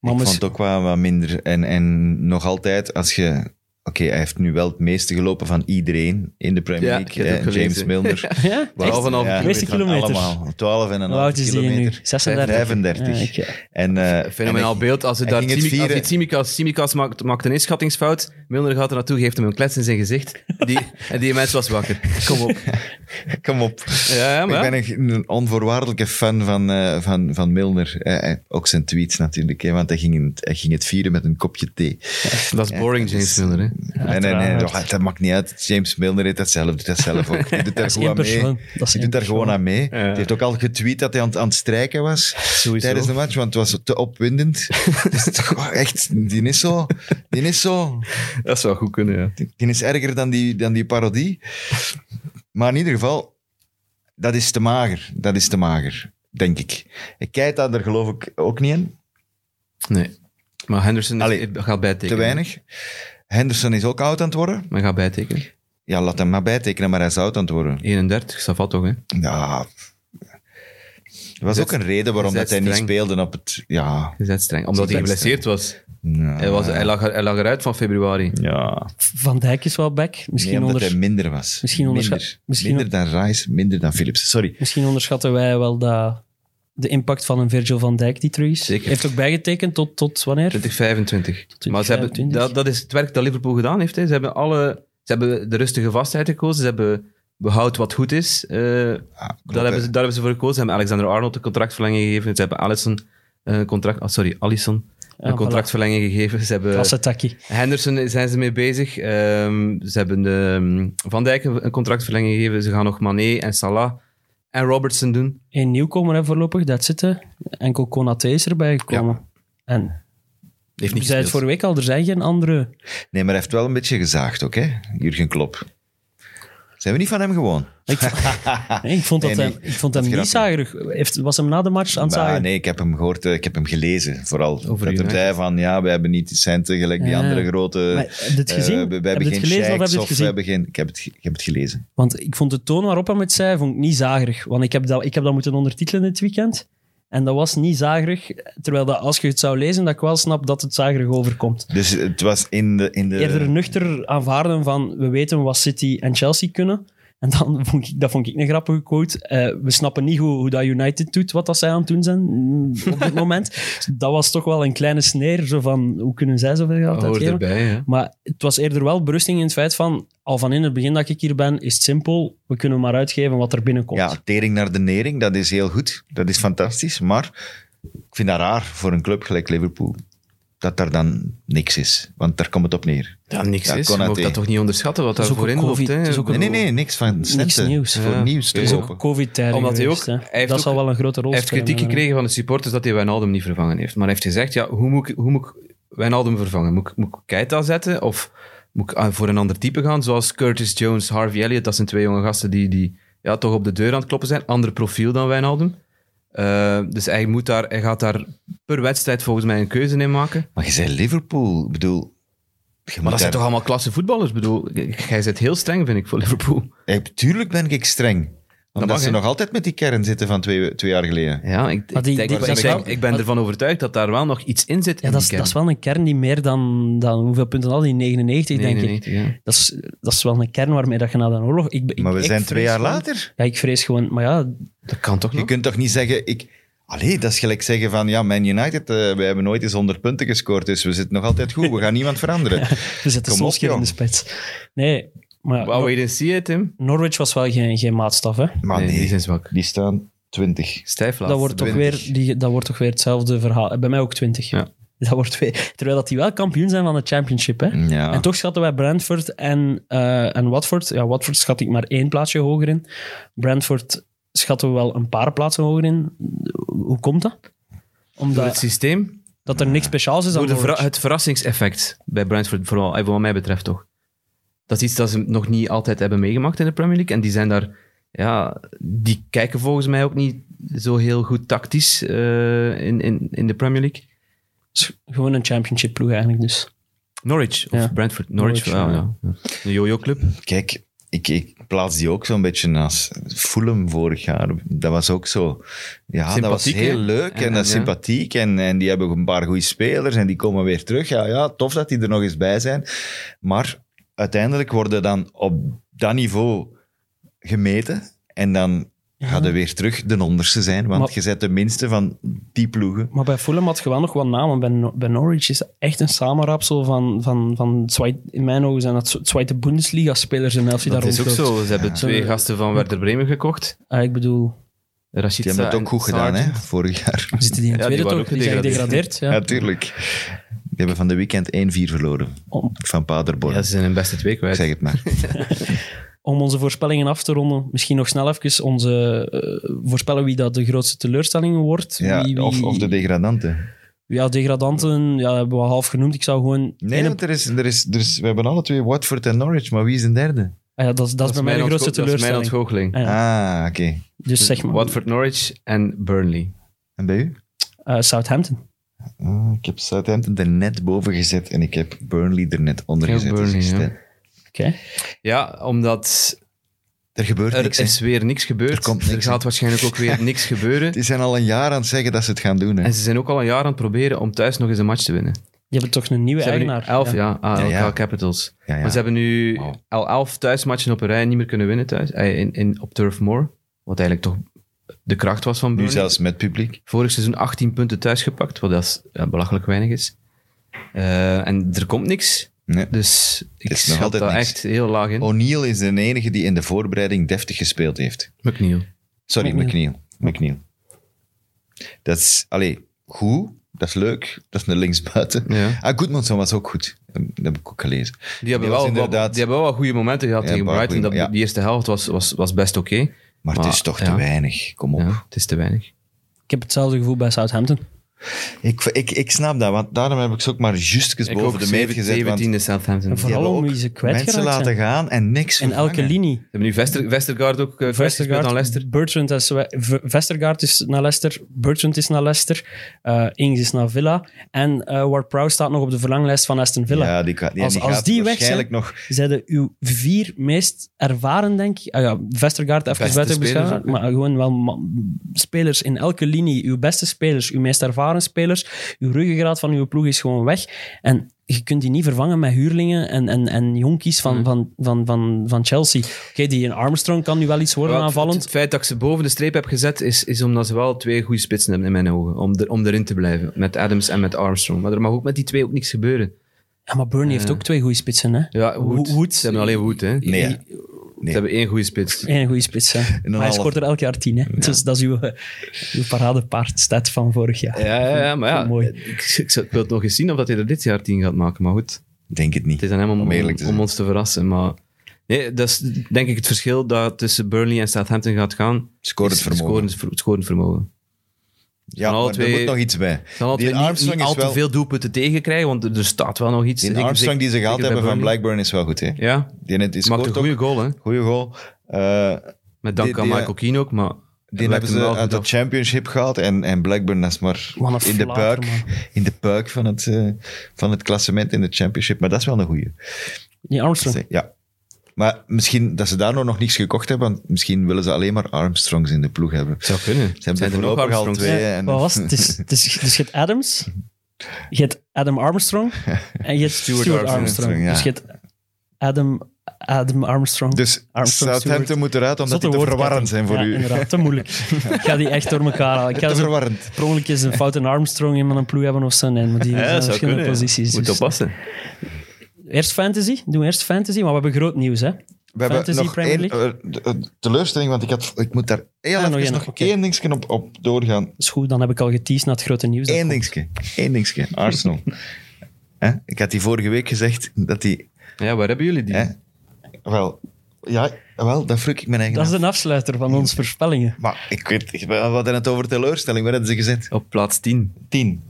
Speaker 4: Maar
Speaker 2: ik
Speaker 4: mis-
Speaker 2: vond het ook wat, wat minder. En, en nog altijd, als je... Oké, hij heeft nu wel het meeste gelopen van iedereen in de Premier
Speaker 3: Ja, ik
Speaker 2: League.
Speaker 3: heb het
Speaker 2: hè,
Speaker 3: ook
Speaker 2: James
Speaker 3: gelezen. <laughs>
Speaker 2: Milner.
Speaker 4: <laughs> Ja?
Speaker 3: Waar-
Speaker 2: Echt?
Speaker 3: 12,5
Speaker 2: Ja,
Speaker 4: meeste
Speaker 2: van
Speaker 4: kilometers.
Speaker 2: Allemaal. 12 en een
Speaker 4: Hoe oud is die nu?
Speaker 2: kilometer.
Speaker 4: 36?
Speaker 2: 35.
Speaker 4: Ja, oké.
Speaker 2: En, eh,
Speaker 3: Fenomenaal
Speaker 2: en ik-
Speaker 3: beeld. Als hij
Speaker 2: hij
Speaker 3: daar
Speaker 2: ging het
Speaker 3: Tsimikas- als
Speaker 2: vieren.
Speaker 3: hij Tsimikas, Tsimikas maakt, maakt een inschattingsfout, Milner gaat er naartoe, geeft hem een klets in zijn gezicht. Die,
Speaker 2: <laughs>
Speaker 3: en die mens was wakker. Kom op.
Speaker 2: Kom op.
Speaker 3: Ja, ja, maar
Speaker 2: Ik
Speaker 3: ja.
Speaker 2: ben echt een onvoorwaardelijke fan van, eh, van, van Milner. Eh, eh, ook zijn tweets natuurlijk, hè, want hij ging, het- hij ging het vieren met een kopje thee.
Speaker 3: dat is boring,
Speaker 2: Ja, het is-
Speaker 3: James Milner. Hè.
Speaker 2: nee, nee, nee,
Speaker 4: uiteraard.
Speaker 2: dat- dat maakt niet uit. James Milner deed dat zelf, doet dat zelf ook. Die doet daar
Speaker 4: Dat is
Speaker 2: gewoon
Speaker 4: één
Speaker 2: aan mee.
Speaker 4: persoon. Dat is
Speaker 2: Die
Speaker 4: één
Speaker 2: doet daar
Speaker 4: persoon.
Speaker 2: gewoon aan mee.
Speaker 3: Ja.
Speaker 2: Die heeft ook al getweet dat hij aan, het- aan het strijken was
Speaker 3: Sowieso.
Speaker 2: tijdens de match, want het was te opwindend. dus toch wel echt, die is zo... Die is zo...
Speaker 3: Dat zou goed kunnen, ja.
Speaker 2: Die is erger dan die, dan die parodie. Maar in ieder geval, dat is te mager. Dat is te mager, denk ik. Keita, daar geloof ik ook niet in.
Speaker 3: Nee. Maar Henderson is-
Speaker 2: Allee,
Speaker 3: gaat bijtekenen.
Speaker 2: Te weinig. Henderson is ook oud aan het worden.
Speaker 3: Maar gaat bijtekenen.
Speaker 2: Ja, laat hem maar bijtekenen, maar hij is oud aan het worden.
Speaker 3: 31, dat valt toch, hè?
Speaker 2: Ja. Er was
Speaker 3: Zet-
Speaker 2: ook een reden waarom
Speaker 3: zet
Speaker 2: dat hij niet
Speaker 3: streng.
Speaker 2: speelde op het... Ja.
Speaker 3: Je bent streng. Omdat hij
Speaker 2: Zet
Speaker 3: geblesseerd was.
Speaker 2: ja.
Speaker 3: Hij, was hij, lag, er- hij lag eruit van februari.
Speaker 2: Ja.
Speaker 4: Van Dijk is wel back. Misschien,
Speaker 2: Nee, omdat
Speaker 4: onder,
Speaker 2: hij minder was.
Speaker 4: misschien onderschat-
Speaker 2: minder.
Speaker 4: misschien-
Speaker 2: minder dan Rice, minder dan Philips. Sorry.
Speaker 4: misschien onderschatten wij wel dat, de impact van een Virgil van Dijk die terug is.
Speaker 3: Zeker.
Speaker 4: Heeft ook bijgetekend tot, tot wanneer?
Speaker 3: 2025. Maar ze hebben,
Speaker 4: 2025.
Speaker 3: dat, dat is het werk dat Liverpool gedaan heeft. Hè. Ze hebben alle... Ze hebben de rustige vastheid gekozen. Ze hebben behoud wat goed is. Eh
Speaker 2: Ja, klopt,
Speaker 3: daar, hebben
Speaker 2: hè.
Speaker 3: ze, daar hebben ze voor gekozen. Ze hebben Alexander Arnold een contractverlenging gegeven. Ze hebben Allison een contract... ah, sorry, Allison
Speaker 4: Ja,
Speaker 3: een contractverlenging gegeven. Ze
Speaker 4: voilà.
Speaker 3: hebben...
Speaker 2: eh,
Speaker 4: Passetaki.
Speaker 3: Henderson zijn ze mee bezig. Ehm, ze hebben ehm, Van Dijk een een contractverlenging gegeven. Ze gaan nog Mané en Salah en Robertson doen.
Speaker 4: Een nieuwkomer hè, voorlopig, dat zitten. Enkel Konaté is erbij gekomen. En
Speaker 3: Heeft
Speaker 4: je
Speaker 3: niet
Speaker 4: zei
Speaker 3: gespeeld.
Speaker 4: het vorige week al, er zijn geen andere.
Speaker 2: Nee, maar hij heeft wel een beetje gezaagd ook, hè? Jurgen Klopp. Zijn we niet van hem gewoon?
Speaker 4: Ik,
Speaker 2: <laughs>
Speaker 4: Nee, ik vond dat
Speaker 2: Nee,
Speaker 4: hem,
Speaker 2: nee,
Speaker 4: ik vond
Speaker 2: dat
Speaker 4: hem niet
Speaker 2: is grappig.
Speaker 4: zagerig. Heeft, was hem na de match aan het
Speaker 2: Maar
Speaker 4: zagen?
Speaker 2: nee, ik heb hem gehoord, eh, ik heb hem gelezen. Vooral
Speaker 3: Over
Speaker 2: dat hij
Speaker 3: United.
Speaker 2: zei van, ja, we hebben niet de centen gelijk die
Speaker 4: Ja.
Speaker 2: andere grote...
Speaker 4: Maar heb je het
Speaker 2: eh,
Speaker 4: gezien?
Speaker 2: we- we,
Speaker 4: Heb
Speaker 2: hebben
Speaker 4: je
Speaker 2: geen
Speaker 4: het gelezen of
Speaker 2: sheiks
Speaker 4: heb je
Speaker 2: of
Speaker 4: het
Speaker 2: we
Speaker 4: gezien?
Speaker 2: hebben geen... Ik heb het, ge- ik heb het gelezen.
Speaker 4: Want ik vond de toon waarop hij het zei, vond ik niet zagerig. Want ik heb dat, ik heb dat moeten ondertitelen dit weekend. En dat was niet zagerig. Terwijl dat, als je het zou lezen, dat ik wel snap dat het zagerig overkomt.
Speaker 2: Dus het was in de... In de
Speaker 4: Eerder nuchter aanvaarden van we weten wat City en Chelsea kunnen. En dan <laughs> vond ik, dat vond ik een grappige quote. Eh, we snappen niet hoe, hoe dat United doet, wat dat zij aan het doen zijn mm, op dit moment. Dat was toch wel een kleine sneer, zo van hoe kunnen zij zoveel geld
Speaker 3: Hoort
Speaker 4: uitgeven?
Speaker 3: erbij, ja.
Speaker 4: Maar het was eerder wel berusting in het feit van, al van in het begin dat ik hier ben, is het simpel. We kunnen maar uitgeven wat er binnenkomt.
Speaker 2: ja, tering naar de nering, dat is heel goed. Dat is fantastisch, maar ik vind dat raar voor een club gelijk Liverpool. Dat daar dan niks is, want daar komt het op neer.
Speaker 3: Ja, niks
Speaker 2: Ja,
Speaker 3: is. Je
Speaker 2: Konaté.
Speaker 3: mag dat toch niet onderschatten wat daar
Speaker 4: is ook
Speaker 3: voorin
Speaker 4: een
Speaker 3: loopt.
Speaker 4: COVID.
Speaker 3: hè.
Speaker 4: Het is ook een-
Speaker 2: Nee, nee, nee, niks van centen.
Speaker 4: nieuws.
Speaker 2: Voor
Speaker 3: Ja.
Speaker 2: nieuws
Speaker 3: Er
Speaker 2: te
Speaker 3: is ook
Speaker 2: kopen.
Speaker 4: Covid-tijd
Speaker 3: Omdat hij
Speaker 4: geweest,
Speaker 3: ook-
Speaker 4: hè.
Speaker 3: hij heeft
Speaker 4: dat
Speaker 3: ook-
Speaker 4: zal wel een grote rol
Speaker 3: Hij heeft
Speaker 4: spelen,
Speaker 3: kritiek
Speaker 4: maar-
Speaker 3: gekregen van de supporters dat hij Wijnaldum niet vervangen heeft. Maar hij heeft gezegd, ja, hoe moet ik, hoe moet ik Wijnaldum vervangen? Moet ik, moet ik Keita zetten of moet ik ah, voor een ander type gaan? Zoals Curtis Jones, Harvey Elliott. Dat zijn twee jonge gasten die, die ja, toch op de deur aan het kloppen zijn. Ander profiel dan Wijnaldum. Eh, dus hij, moet daar, hij gaat daar per wedstrijd volgens mij een keuze in maken.
Speaker 2: Maar je zei Liverpool, ik bedoel... Je
Speaker 3: Maar
Speaker 2: moet
Speaker 3: dat zijn
Speaker 2: daar-
Speaker 3: toch allemaal klasse voetballers? Ik bedoel, jij bent heel streng, vind ik, voor Liverpool.
Speaker 2: Hey, tuurlijk ben ik streng. Omdat
Speaker 3: mag,
Speaker 2: ze
Speaker 3: hè?
Speaker 2: nog altijd met die kern zitten van twee, twee jaar geleden.
Speaker 3: Ja, ik,
Speaker 4: Maar die-
Speaker 3: ik, denk-
Speaker 4: die-
Speaker 3: ik
Speaker 4: dat is
Speaker 3: denk-
Speaker 4: wel-
Speaker 3: ik ben
Speaker 4: maar-
Speaker 3: ervan overtuigd dat daar wel nog iets in zit.
Speaker 4: Ja, dat is, dat is wel een kern die meer dan, dan hoeveel punten had hij? 99, denk ik. Dat is, dat is wel een kern waarmee dat je na de oorlog... Ik, ik-
Speaker 2: Maar we
Speaker 4: ik
Speaker 2: zijn twee
Speaker 4: vrees
Speaker 2: jaar
Speaker 4: gewoon-
Speaker 2: later.
Speaker 4: Ja, ik vrees gewoon... Maar ja,
Speaker 3: Dat kan toch
Speaker 2: Je
Speaker 3: niet?
Speaker 2: kunt toch niet zeggen, ik, Allee, dat is gelijk zeggen van, ja, Man United, eh, wij hebben nooit eens 100 punten gescoord, dus we zitten nog altijd goed, we gaan niemand
Speaker 3: <laughs>
Speaker 2: veranderen.
Speaker 4: We
Speaker 2: Kom
Speaker 4: zetten
Speaker 2: op,
Speaker 4: Solskjaer in de
Speaker 2: jong.
Speaker 4: spits. Nee, maar
Speaker 3: Wauw, weet je zie je, Tim?
Speaker 4: Norwich was wel geen, geen maatstaf, hè?
Speaker 2: Maar Ah, nee,
Speaker 3: die zijn zwak.
Speaker 2: die staan 20.
Speaker 3: Stijf laatst.
Speaker 4: Dat wordt, toch
Speaker 2: 20.
Speaker 4: weer, die, dat wordt toch weer hetzelfde verhaal. Bij mij ook 20.
Speaker 3: Ja.
Speaker 4: <laughs> Dat wordt weer, terwijl dat die wel kampioen zijn van de championship, hè?
Speaker 2: Ja.
Speaker 4: En toch schatten wij Brentford en, eh, en Watford. Ja, Watford schat ik maar één plaatsje hoger in. Brentford schatten we wel een paar plaatsen hoger in. Hoe komt dat?
Speaker 3: Door het
Speaker 4: Omdat
Speaker 3: systeem,
Speaker 4: dat er niks speciaals is aan
Speaker 3: door de verra-
Speaker 4: Norwich.
Speaker 3: het verrassingseffect bij Brentford, vooral, eh, wat mij betreft toch. Dat is iets dat ze nog niet altijd hebben meegemaakt in de Premier League. En die zijn daar, ja, die kijken volgens mij ook niet zo heel goed tactisch eh, in, in, in de Premier League.
Speaker 4: Het is Gewoon een championship ploeg eigenlijk dus.
Speaker 3: Norwich of
Speaker 4: Ja.
Speaker 3: Brentford. Norwich,
Speaker 4: Norwich,
Speaker 3: wel,
Speaker 4: ja.
Speaker 3: ja. Een jojo-club.
Speaker 2: Kijk, ik, ik plaats die ook zo'n beetje naast Fulham vorig jaar. Dat was ook zo. Ja, dat was
Speaker 3: Sympathiek, hè?
Speaker 2: heel leuk en,
Speaker 3: En-
Speaker 2: dat is
Speaker 3: en, ja.
Speaker 2: sympathiek. En, en die hebben een paar goede spelers en die komen weer terug. Ja, ja, tof dat die er nog eens bij zijn. Maar uiteindelijk worden dan op dat niveau gemeten. En dan gaan er weer terug de onderste zijn. Want
Speaker 4: Maar-
Speaker 2: je zet de minste van die ploegen.
Speaker 4: Maar bij Fulham had je wel nog wat namen. Bij, Nor- bij Norwich is dat echt een samenraapsel van, van, van Zweit- in mijn ogen zijn dat Zweite Bundesliga-spelers in elf die
Speaker 3: Dat
Speaker 4: daar
Speaker 3: is ook
Speaker 4: rondloopt.
Speaker 3: zo. Ze hebben twee gasten van Werder Bremen gekocht.
Speaker 4: Ah, ik bedoel,
Speaker 3: Rashid
Speaker 2: Die hebben het
Speaker 3: Sa-
Speaker 2: ook goed
Speaker 3: Sargent.
Speaker 2: gedaan, hè, vorig jaar.
Speaker 4: zitten die in
Speaker 3: Ja,
Speaker 4: tweede
Speaker 3: die waren
Speaker 4: toch?
Speaker 3: ook
Speaker 4: Die zijn
Speaker 3: gedegradeerd.
Speaker 4: gedegradeerd. Ja.
Speaker 2: Natuurlijk. die hebben van de weekend 1-4 verloren.
Speaker 4: Om-
Speaker 2: Van Paderborn.
Speaker 3: Ja, ze zijn hun beste twee
Speaker 2: Ik
Speaker 3: kwijt.
Speaker 2: zeg het <laughs> maar.
Speaker 4: Om onze voorspellingen af te ronden, misschien nog snel even onze, eh, voorspellen wie dat de grootste teleurstelling wordt.
Speaker 2: Ja,
Speaker 4: wie, wie-
Speaker 2: Of, of de degradanten.
Speaker 4: Ja, degradanten, ja, hebben we al half genoemd. Ik zou gewoon...
Speaker 2: Nee,
Speaker 4: ene-
Speaker 2: want er is, er is, er is, we hebben alle twee Watford en Norwich, maar wie is de derde?
Speaker 4: Ah ja, dat, is- dat is bij mij de
Speaker 3: ontgo-
Speaker 4: grootste
Speaker 3: Dat is mijn
Speaker 4: teleurstelling.
Speaker 3: ontgoocheling.
Speaker 4: Ah ja,
Speaker 2: Ah, oké.
Speaker 4: dus zeg maar,
Speaker 3: Watford, Norwich en Burnley.
Speaker 2: En bij u?
Speaker 4: eh, Southampton.
Speaker 2: Ah, ik heb Southampton er net boven gezet en ik heb Burnley er net onder
Speaker 3: Ja,
Speaker 2: gezet. Dus
Speaker 3: Burnley,
Speaker 2: ik stel-
Speaker 3: ja.
Speaker 4: Oké.
Speaker 3: Ja, omdat
Speaker 2: eh, Er gebeurt
Speaker 3: er
Speaker 2: niks. hè.
Speaker 3: is weer niks gebeurd.
Speaker 2: Er komt niks, hè.
Speaker 3: gaat waarschijnlijk ook
Speaker 2: <laughs>
Speaker 3: weer niks gebeuren.
Speaker 2: Die zijn al een jaar aan het zeggen dat ze het gaan doen. Hè.
Speaker 3: En ze zijn ook al een jaar aan het proberen om thuis nog eens een match te winnen. Ze
Speaker 4: Die hebben toch een nieuwe
Speaker 3: hebben nu
Speaker 4: eigenaar.
Speaker 3: elf, ja. ALK
Speaker 2: Ja, ja.
Speaker 3: Capitals.
Speaker 2: Ja, ja.
Speaker 3: Maar ze hebben nu
Speaker 2: Wow.
Speaker 3: al elf thuismatchen op een rij niet meer kunnen winnen thuis. eh, In, in, op Turf Moor. Wat eigenlijk toch de kracht was van
Speaker 2: Nu
Speaker 3: Burnley.
Speaker 2: zelfs met publiek.
Speaker 3: Vorig seizoen 18 punten thuis gepakt, wat dat is, ja, belachelijk weinig is. Eh, en er komt niks.
Speaker 2: Nee.
Speaker 3: Dus ik
Speaker 2: is nog
Speaker 3: schat
Speaker 2: altijd
Speaker 3: dat
Speaker 2: niks. Oh.
Speaker 3: echt heel laag in.
Speaker 2: O'Neill is de enige die in de voorbereiding deftig gespeeld heeft.
Speaker 3: McNeil.
Speaker 2: Sorry,
Speaker 4: McNeil.
Speaker 2: McNeil. McNeil. Dat is, allee, goed. Dat is leuk. Dat is een linksbuiten.
Speaker 3: Ja.
Speaker 2: Ah, Goodmanson was ook goed. Ehm, Dat heb ik ook gelezen.
Speaker 3: Die hebben,
Speaker 2: Die was
Speaker 3: wel,
Speaker 2: inderdaad-
Speaker 3: wat, die hebben wel wat goede momenten gehad
Speaker 2: Ja,
Speaker 3: tegen
Speaker 2: een paar
Speaker 3: Brighton.
Speaker 2: goeie-
Speaker 3: Dat,
Speaker 2: ja.
Speaker 3: Die eerste helft was, was, was best oké.
Speaker 2: Maar, het
Speaker 3: Maar,
Speaker 2: is toch te
Speaker 3: ja.
Speaker 2: weinig. Kom op.
Speaker 3: Ja, het is te weinig.
Speaker 4: Ik heb hetzelfde gevoel bij Southampton.
Speaker 2: Ik, ik, ik snap dat, want daarom heb ik ze ook maar justjes boven de meet gezet. Want die
Speaker 3: 17e Southampton.
Speaker 4: En
Speaker 3: Ze
Speaker 4: vooral
Speaker 2: hebben
Speaker 4: om
Speaker 2: ook
Speaker 4: wie ze kwijtgeraakt
Speaker 2: mensen laten
Speaker 4: zijn.
Speaker 2: gaan en niks
Speaker 4: In elke
Speaker 2: vervangen.
Speaker 4: linie.
Speaker 3: hebben nu Vester, Westergaard ook uh,
Speaker 4: Vestergaard,
Speaker 3: gespeeld aan Leicester.
Speaker 4: Bertrand is, we- V- Vestergaard is naar Leicester, Bertrand is naar Leicester, eh, Ings is naar Villa en eh Ward-Prowse staat nog op de verlanglijst van Aston Villa.
Speaker 2: Ja, die, ka- die,
Speaker 4: Als-
Speaker 2: die
Speaker 4: als
Speaker 2: gaat
Speaker 4: die weg
Speaker 2: waarschijnlijk nog...
Speaker 4: Zijden uw vier meest ervaren, denk ik. Ah ja, Vestergaard even
Speaker 3: Beste
Speaker 4: buiten
Speaker 3: spelers
Speaker 4: beschouwd,
Speaker 3: ook,
Speaker 4: maar gewoon wel ma- spelers in elke linie. Uw beste spelers, uw meest ervaren spelers, uw ruggengraat van uw ploeg is gewoon weg. En je kunt die niet vervangen met huurlingen en, en, en jonkies
Speaker 3: Mm.
Speaker 4: van, van, van, van, van Chelsea. Oké, die in Armstrong kan nu wel iets worden
Speaker 3: Wel, het-
Speaker 4: aanvallend.
Speaker 3: Het feit dat ik ze boven de streep heb gezet, is, is omdat ze wel twee goede spitsen hebben in mijn ogen. Om, er, om erin te blijven. Met Adams en met Armstrong. Maar er mag ook met die twee ook niks gebeuren.
Speaker 4: Ja, maar Burnley heeft ook twee goede spitsen, hè?
Speaker 3: Ja, Wood.
Speaker 4: Wo- Wood.
Speaker 3: Ze hebben alleen Wood, hè.
Speaker 2: Nee, ja.
Speaker 3: Ze hebben één goede spits.
Speaker 4: Eén goede spits, hè. Maar hij
Speaker 2: half.
Speaker 4: scoort er elk jaar tien, hè. Dus dat is uw, eh, uw paradepaard, stat van vorig jaar.
Speaker 3: Ja, ja, ja, maar ja,
Speaker 4: Mooi.
Speaker 3: ik, ik zou- ik wil het nog eens zien of dat hij er dit jaar tien gaat maken. Maar goed,
Speaker 2: denk het
Speaker 3: Het is
Speaker 2: niet.
Speaker 3: aan hem om,
Speaker 2: Om eerlijk te
Speaker 3: om,
Speaker 2: zijn.
Speaker 3: ons te verrassen. Maar nee, dat is denk ik het verschil dat tussen Burnley en Southampton gaat gaan.
Speaker 2: Scorend
Speaker 3: Is
Speaker 2: vermogen.
Speaker 3: scorend ver- scorend vermogen.
Speaker 2: Ja,
Speaker 3: alle
Speaker 2: maar er
Speaker 3: twee-
Speaker 2: moet nog iets bij.
Speaker 3: Ze gaan altijd
Speaker 2: Die
Speaker 3: niet-
Speaker 2: Armstrong
Speaker 3: niet al
Speaker 2: is
Speaker 3: te
Speaker 2: wel...
Speaker 3: veel doelpunten tegenkrijgen, want er, er staat wel nog iets.
Speaker 2: Die
Speaker 3: Zeker-
Speaker 2: Armstrong die ze
Speaker 3: zeker-
Speaker 2: gehaald
Speaker 3: zeker
Speaker 2: hebben
Speaker 3: bij
Speaker 2: van
Speaker 3: Burnley.
Speaker 2: Blackburn is wel goed, hè.
Speaker 3: Ja,
Speaker 2: Die net is
Speaker 3: maakt een
Speaker 2: scoort ook.
Speaker 3: goede goal, hè.
Speaker 2: Goeie goal. Eh,
Speaker 3: Met dank
Speaker 2: Die-
Speaker 3: aan
Speaker 2: die-
Speaker 3: Michael Keane ook, maar...
Speaker 2: die hebben ze uit de championship gehaald en, en Blackburn is maar
Speaker 4: Wat een
Speaker 2: in de,
Speaker 4: flater,
Speaker 2: buik,
Speaker 4: man.
Speaker 2: <laughs> in de buik van het, eh, van het klassement in de championship. Maar dat is wel een goeie.
Speaker 4: Nee, Armstrong.
Speaker 2: Ja. Maar misschien dat ze daardoor nog niets gekocht hebben, want misschien willen ze alleen maar Armstrongs in de ploeg hebben. Ze
Speaker 3: zou kunnen.
Speaker 2: hebben er
Speaker 3: nog
Speaker 2: voorlopig al
Speaker 3: Armstrongs?
Speaker 2: twee.
Speaker 4: Ja,
Speaker 2: en-
Speaker 4: Wat was het? Het is- het is- Dus je hebt Adams,
Speaker 2: <laughs>
Speaker 4: je hebt Adam Armstrong en je hebt Stuart,
Speaker 3: Armstrong,
Speaker 4: Armstrong.
Speaker 2: ja.
Speaker 4: Dus je hebt Adam Adam Armstrong.
Speaker 2: Dus
Speaker 4: Armstrong
Speaker 2: Southampton
Speaker 4: Stewart.
Speaker 2: moet eruit, omdat die
Speaker 4: Zotte
Speaker 2: te
Speaker 4: woordketting.
Speaker 2: verwarrend zijn voor
Speaker 4: Ja,
Speaker 2: u.
Speaker 4: inderdaad, te moeilijk. Ik ga die echt door elkaar halen. Ik
Speaker 2: <laughs>
Speaker 4: ga
Speaker 2: Te
Speaker 4: zo
Speaker 2: verwarrend.
Speaker 4: per ongeluk eens een fout in Armstrong in mijn ploeg hebben of zo. Nee, maar die
Speaker 5: Ja,
Speaker 4: zijn
Speaker 5: dat zou
Speaker 4: verschillende
Speaker 5: kunnen. ja.
Speaker 4: posities.
Speaker 3: Moet
Speaker 4: dus-
Speaker 3: oppassen.
Speaker 4: Eerst fantasy, doen we eerst fantasy, maar we hebben groot nieuws, hè.
Speaker 2: We hebben
Speaker 4: Fantasy
Speaker 2: nog
Speaker 4: Premier
Speaker 2: één eh, de- eh, teleurstelling, want ik, had, ik moet daar heel
Speaker 4: Ah, nog
Speaker 2: even
Speaker 4: één,
Speaker 2: nog
Speaker 4: oké.
Speaker 2: één dingetje op, op doorgaan.
Speaker 4: Dat is goed, dan heb ik al geteased naar het grote nieuws. Dat
Speaker 2: Eén
Speaker 4: komt.
Speaker 2: dingetje. Eén dingetje.
Speaker 4: <laughs>
Speaker 2: Arsenal. Hè? ik had die vorige week gezegd dat die...
Speaker 3: Ja, waar hebben jullie die?
Speaker 2: hè? wel, ja, wel, dat vroeg ik mijn eigen
Speaker 4: Dat is
Speaker 2: af.
Speaker 4: een afsluiter van onze voorspellingen.
Speaker 2: Maar ik weet, we hadden het over teleurstelling. Waar hadden ze gezet?
Speaker 3: Op plaats 10.
Speaker 2: Tien.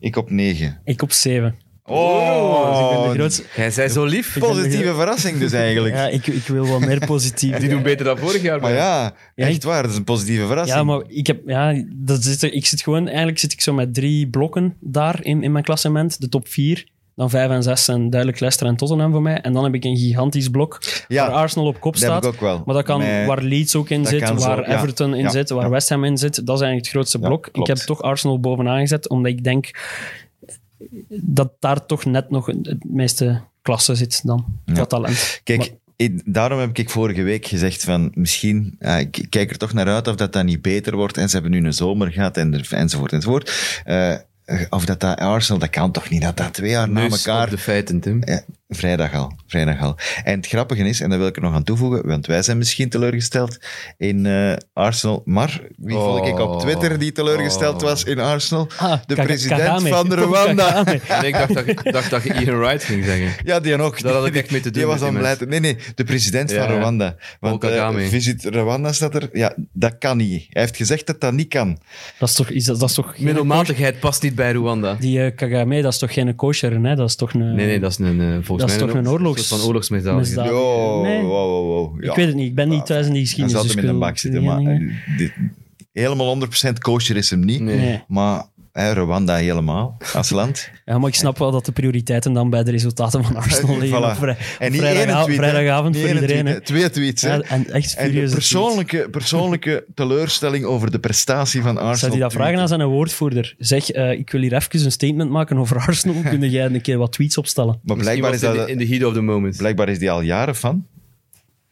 Speaker 2: Ik op negen.
Speaker 4: Ik op 7.
Speaker 2: Oh,
Speaker 4: ik ben de grootste.
Speaker 3: Jij zei zo lief.
Speaker 2: positieve verrassing
Speaker 4: <laughs>
Speaker 2: dus eigenlijk.
Speaker 4: Ja, ik, ik wil wel
Speaker 2: <laughs>
Speaker 4: meer positief.
Speaker 3: Die doen beter dan vorig jaar.
Speaker 2: Maar ja,
Speaker 4: Ja,
Speaker 2: echt waar, dat is een positieve verrassing.
Speaker 4: Ja, maar ik heb, ja, dat zit er, ik zit gewoon, eigenlijk zit ik zo met drie blokken daar in, in mijn klassement. De top vier, dan vijf en zes zijn duidelijk Leicester en Tottenham voor mij. En dan heb ik een gigantisch blok
Speaker 2: Ja,
Speaker 4: waar Arsenal op kop
Speaker 2: dat heb
Speaker 4: staat.
Speaker 2: ik ook wel.
Speaker 4: Maar dat kan,
Speaker 2: Met-
Speaker 4: waar Leeds ook in
Speaker 2: dat
Speaker 4: zit,
Speaker 2: kan zo,
Speaker 4: waar
Speaker 2: ja.
Speaker 4: Everton in
Speaker 2: Ja,
Speaker 4: zit, waar
Speaker 2: ja.
Speaker 4: West Ham in zit. Dat is eigenlijk het grootste
Speaker 2: Ja,
Speaker 4: blok. ik
Speaker 2: klopt.
Speaker 4: heb toch Arsenal bovenaan gezet, omdat ik denk dat daar toch net nog het meeste klasse zit dan. Dat talent.
Speaker 2: Kijk,
Speaker 4: Maar-
Speaker 2: ik- daarom heb ik vorige week gezegd van misschien, eh, ik ik kijk er toch naar uit of dat, dat niet beter wordt. En ze hebben nu een zomer gehad en er- enzovoort enzovoort. Eh, of dat dat Arsenal, dat kan toch niet dat dat twee jaar na
Speaker 3: Neus
Speaker 2: elkaar...
Speaker 3: dus op de feiten, Tim.
Speaker 2: Ja, vrijdag al, vrijdag al. En het grappige is, en dat wil ik er nog aan toevoegen, want wij zijn misschien teleurgesteld in eh, Arsenal. Maar wie
Speaker 3: Oh.
Speaker 2: volg ik op Twitter die teleurgesteld
Speaker 3: Oh.
Speaker 2: was in Arsenal?
Speaker 4: Ah,
Speaker 2: de
Speaker 4: Ka-
Speaker 2: president
Speaker 4: Kagame. <laughs>
Speaker 2: van
Speaker 4: Tom
Speaker 2: Rwanda.
Speaker 3: <laughs>
Speaker 4: Kagame.
Speaker 3: En ik dacht dat, ik dacht dat je Ian Wright ging zeggen.
Speaker 2: Ja, die nog.
Speaker 3: Daar had ik
Speaker 2: Die-
Speaker 3: echt mee te doen
Speaker 2: Die was
Speaker 3: met
Speaker 2: aan
Speaker 3: die
Speaker 2: beleid. Nee, nee, de president
Speaker 3: Ja,
Speaker 2: van
Speaker 3: ja.
Speaker 2: Rwanda. Want
Speaker 3: Paul
Speaker 2: eh,
Speaker 3: Kagame.
Speaker 2: visit Rwanda staat er. Ja, dat kan niet. Hij heeft gezegd dat dat niet kan.
Speaker 4: Dat is toch, is dat, dat is toch geen
Speaker 3: Middelmatigheid past niet bij Rwanda.
Speaker 4: Die eh, Kagame, dat is toch geen kosher, hè? Dat is toch een...
Speaker 3: Nee, nee, dat is een, eh, volgens
Speaker 4: Dat is
Speaker 3: mij
Speaker 4: toch een oorlogs-
Speaker 3: soort van oorlogsmisdaad.
Speaker 4: misdaad. Ja,
Speaker 2: Yo,
Speaker 4: nee.
Speaker 2: wow, wow, wow. Ja.
Speaker 4: Ik weet het niet, ik ben niet thuis in die
Speaker 2: Hij
Speaker 4: geschiedenis.
Speaker 2: zat
Speaker 4: dus
Speaker 2: hem
Speaker 4: ik
Speaker 2: in de
Speaker 4: wil-
Speaker 2: bak zitten. Maar, eh, dit- helemaal 100% kosher is hem niet.
Speaker 3: Nee.
Speaker 4: Nee.
Speaker 2: Maar eh, Rwanda helemaal, als
Speaker 4: <laughs>
Speaker 2: land.
Speaker 4: Ja, maar ik snap wel dat de prioriteiten dan bij de resultaten
Speaker 2: <laughs>
Speaker 4: van Arsenal liggen.
Speaker 2: Voilà.
Speaker 4: op vrij-
Speaker 2: En niet
Speaker 4: vrijdag-
Speaker 2: één tweet, hè.
Speaker 4: vrijdagavond
Speaker 2: Niet
Speaker 4: voor
Speaker 2: één
Speaker 4: iedereen.
Speaker 2: tweet,
Speaker 4: hè.
Speaker 2: hè. Twee tweets, hè.
Speaker 4: Ja, en echt
Speaker 2: en de
Speaker 4: furieuze tweets.
Speaker 2: persoonlijke, persoonlijke teleurstelling over de prestatie van Arsenal.
Speaker 4: Zou die dat vragen aan zijn woordvoerder? Zeg, eh, ik wil hier even een statement maken over Arsenal. Kun jij een keer wat tweets opstellen?
Speaker 2: Maar
Speaker 3: Misschien
Speaker 2: blijkbaar
Speaker 3: was
Speaker 2: is,
Speaker 3: het
Speaker 2: dat,
Speaker 3: in de- in de heat of the moment.
Speaker 2: blijkbaar is die al jaren van.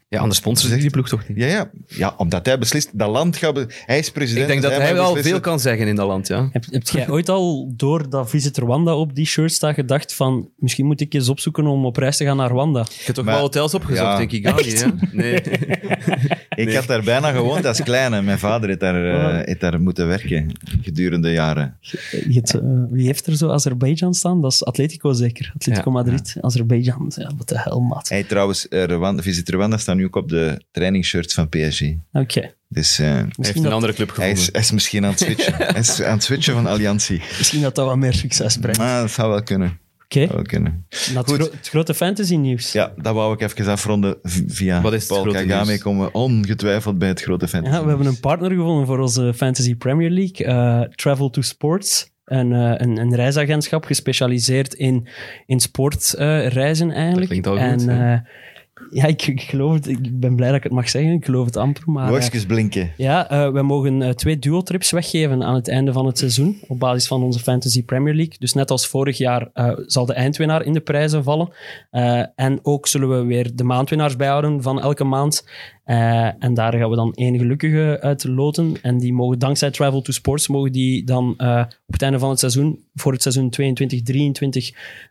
Speaker 3: Ja, anders sponsor zich die ploeg toch niet.
Speaker 2: Ja, ja. ja, omdat hij beslist. Dat land gaat... be- Hij is president.
Speaker 3: Ik denk dat
Speaker 2: dus
Speaker 3: hij
Speaker 2: mag
Speaker 3: wel
Speaker 2: beslissen.
Speaker 3: veel kan zeggen in dat land, ja.
Speaker 4: Heb, heb jij ooit al door dat Visit Rwanda op die shirt staat gedacht van misschien moet ik eens opzoeken om op reis te gaan naar Rwanda?
Speaker 3: Ik heb toch
Speaker 2: Maar-
Speaker 3: wel hotels opgezocht,
Speaker 2: Ja.
Speaker 3: denk ik. Ga
Speaker 4: <laughs>
Speaker 3: niet, hè? Nee.
Speaker 2: Ik had daar bijna gewoond als kleine. Mijn vader heeft daar, eh,
Speaker 3: Ah.
Speaker 2: heeft daar moeten werken gedurende jaren.
Speaker 4: Je hebt, eh, wie heeft er zo Azerbeidzjan staan? Dat is Atletico zeker. Atletico
Speaker 3: Ja,
Speaker 4: Madrid, Azerbeidzjan. Ja, wat de hel, maat.
Speaker 2: Hij trouwens, eh, Rwanda, Visit Rwanda staat nu ook op de trainingsshirts van PSG.
Speaker 4: Oké.
Speaker 2: Dus eh,
Speaker 3: Hij
Speaker 4: Misschien,
Speaker 3: heeft een
Speaker 4: dat-
Speaker 3: andere club
Speaker 2: hij, is,
Speaker 3: gevonden.
Speaker 2: hij is misschien aan het
Speaker 3: <laughs>
Speaker 2: switchen. hij is aan het switchen van Alliantie.
Speaker 4: misschien dat dat wat meer succes brengt.
Speaker 2: Maar dat zou wel kunnen.
Speaker 4: Oké,
Speaker 2: Zou wel kunnen.
Speaker 4: naar het,
Speaker 2: goed.
Speaker 4: gro- het grote fantasy nieuws.
Speaker 2: Ja, dat wou ik even afronden v- via
Speaker 3: Wat is het
Speaker 2: Paul
Speaker 3: grote
Speaker 2: Kagame.
Speaker 3: nieuws?
Speaker 2: Komen we ongetwijfeld bij het grote fan.
Speaker 4: we hebben een partner gevonden voor onze Fantasy Premier League, eh, Travel to Sports. Een, eh, een, een reisagentschap gespecialiseerd in, in sportreizen eigenlijk.
Speaker 3: Dat klinkt al
Speaker 4: en,
Speaker 3: goed,
Speaker 4: eh, ja, ik, ik geloof het. Ik ben blij dat ik het mag zeggen. Ik geloof het amper, maar... eh,
Speaker 2: Woordjes blinken.
Speaker 4: Ja, eh wij mogen eh, twee duotrips weggeven aan het einde van het seizoen. Op basis van onze Fantasy Premier League. Dus net als vorig jaar eh, zal de eindwinnaar in de prijzen vallen. Eh, en ook zullen we weer de maandwinnaars bijhouden van elke maand. Eh, en daar gaan we dan één gelukkige uit loten. En die mogen dankzij Travel to Sports mogen die dan eh, op het einde van het seizoen, voor het seizoen 22-23,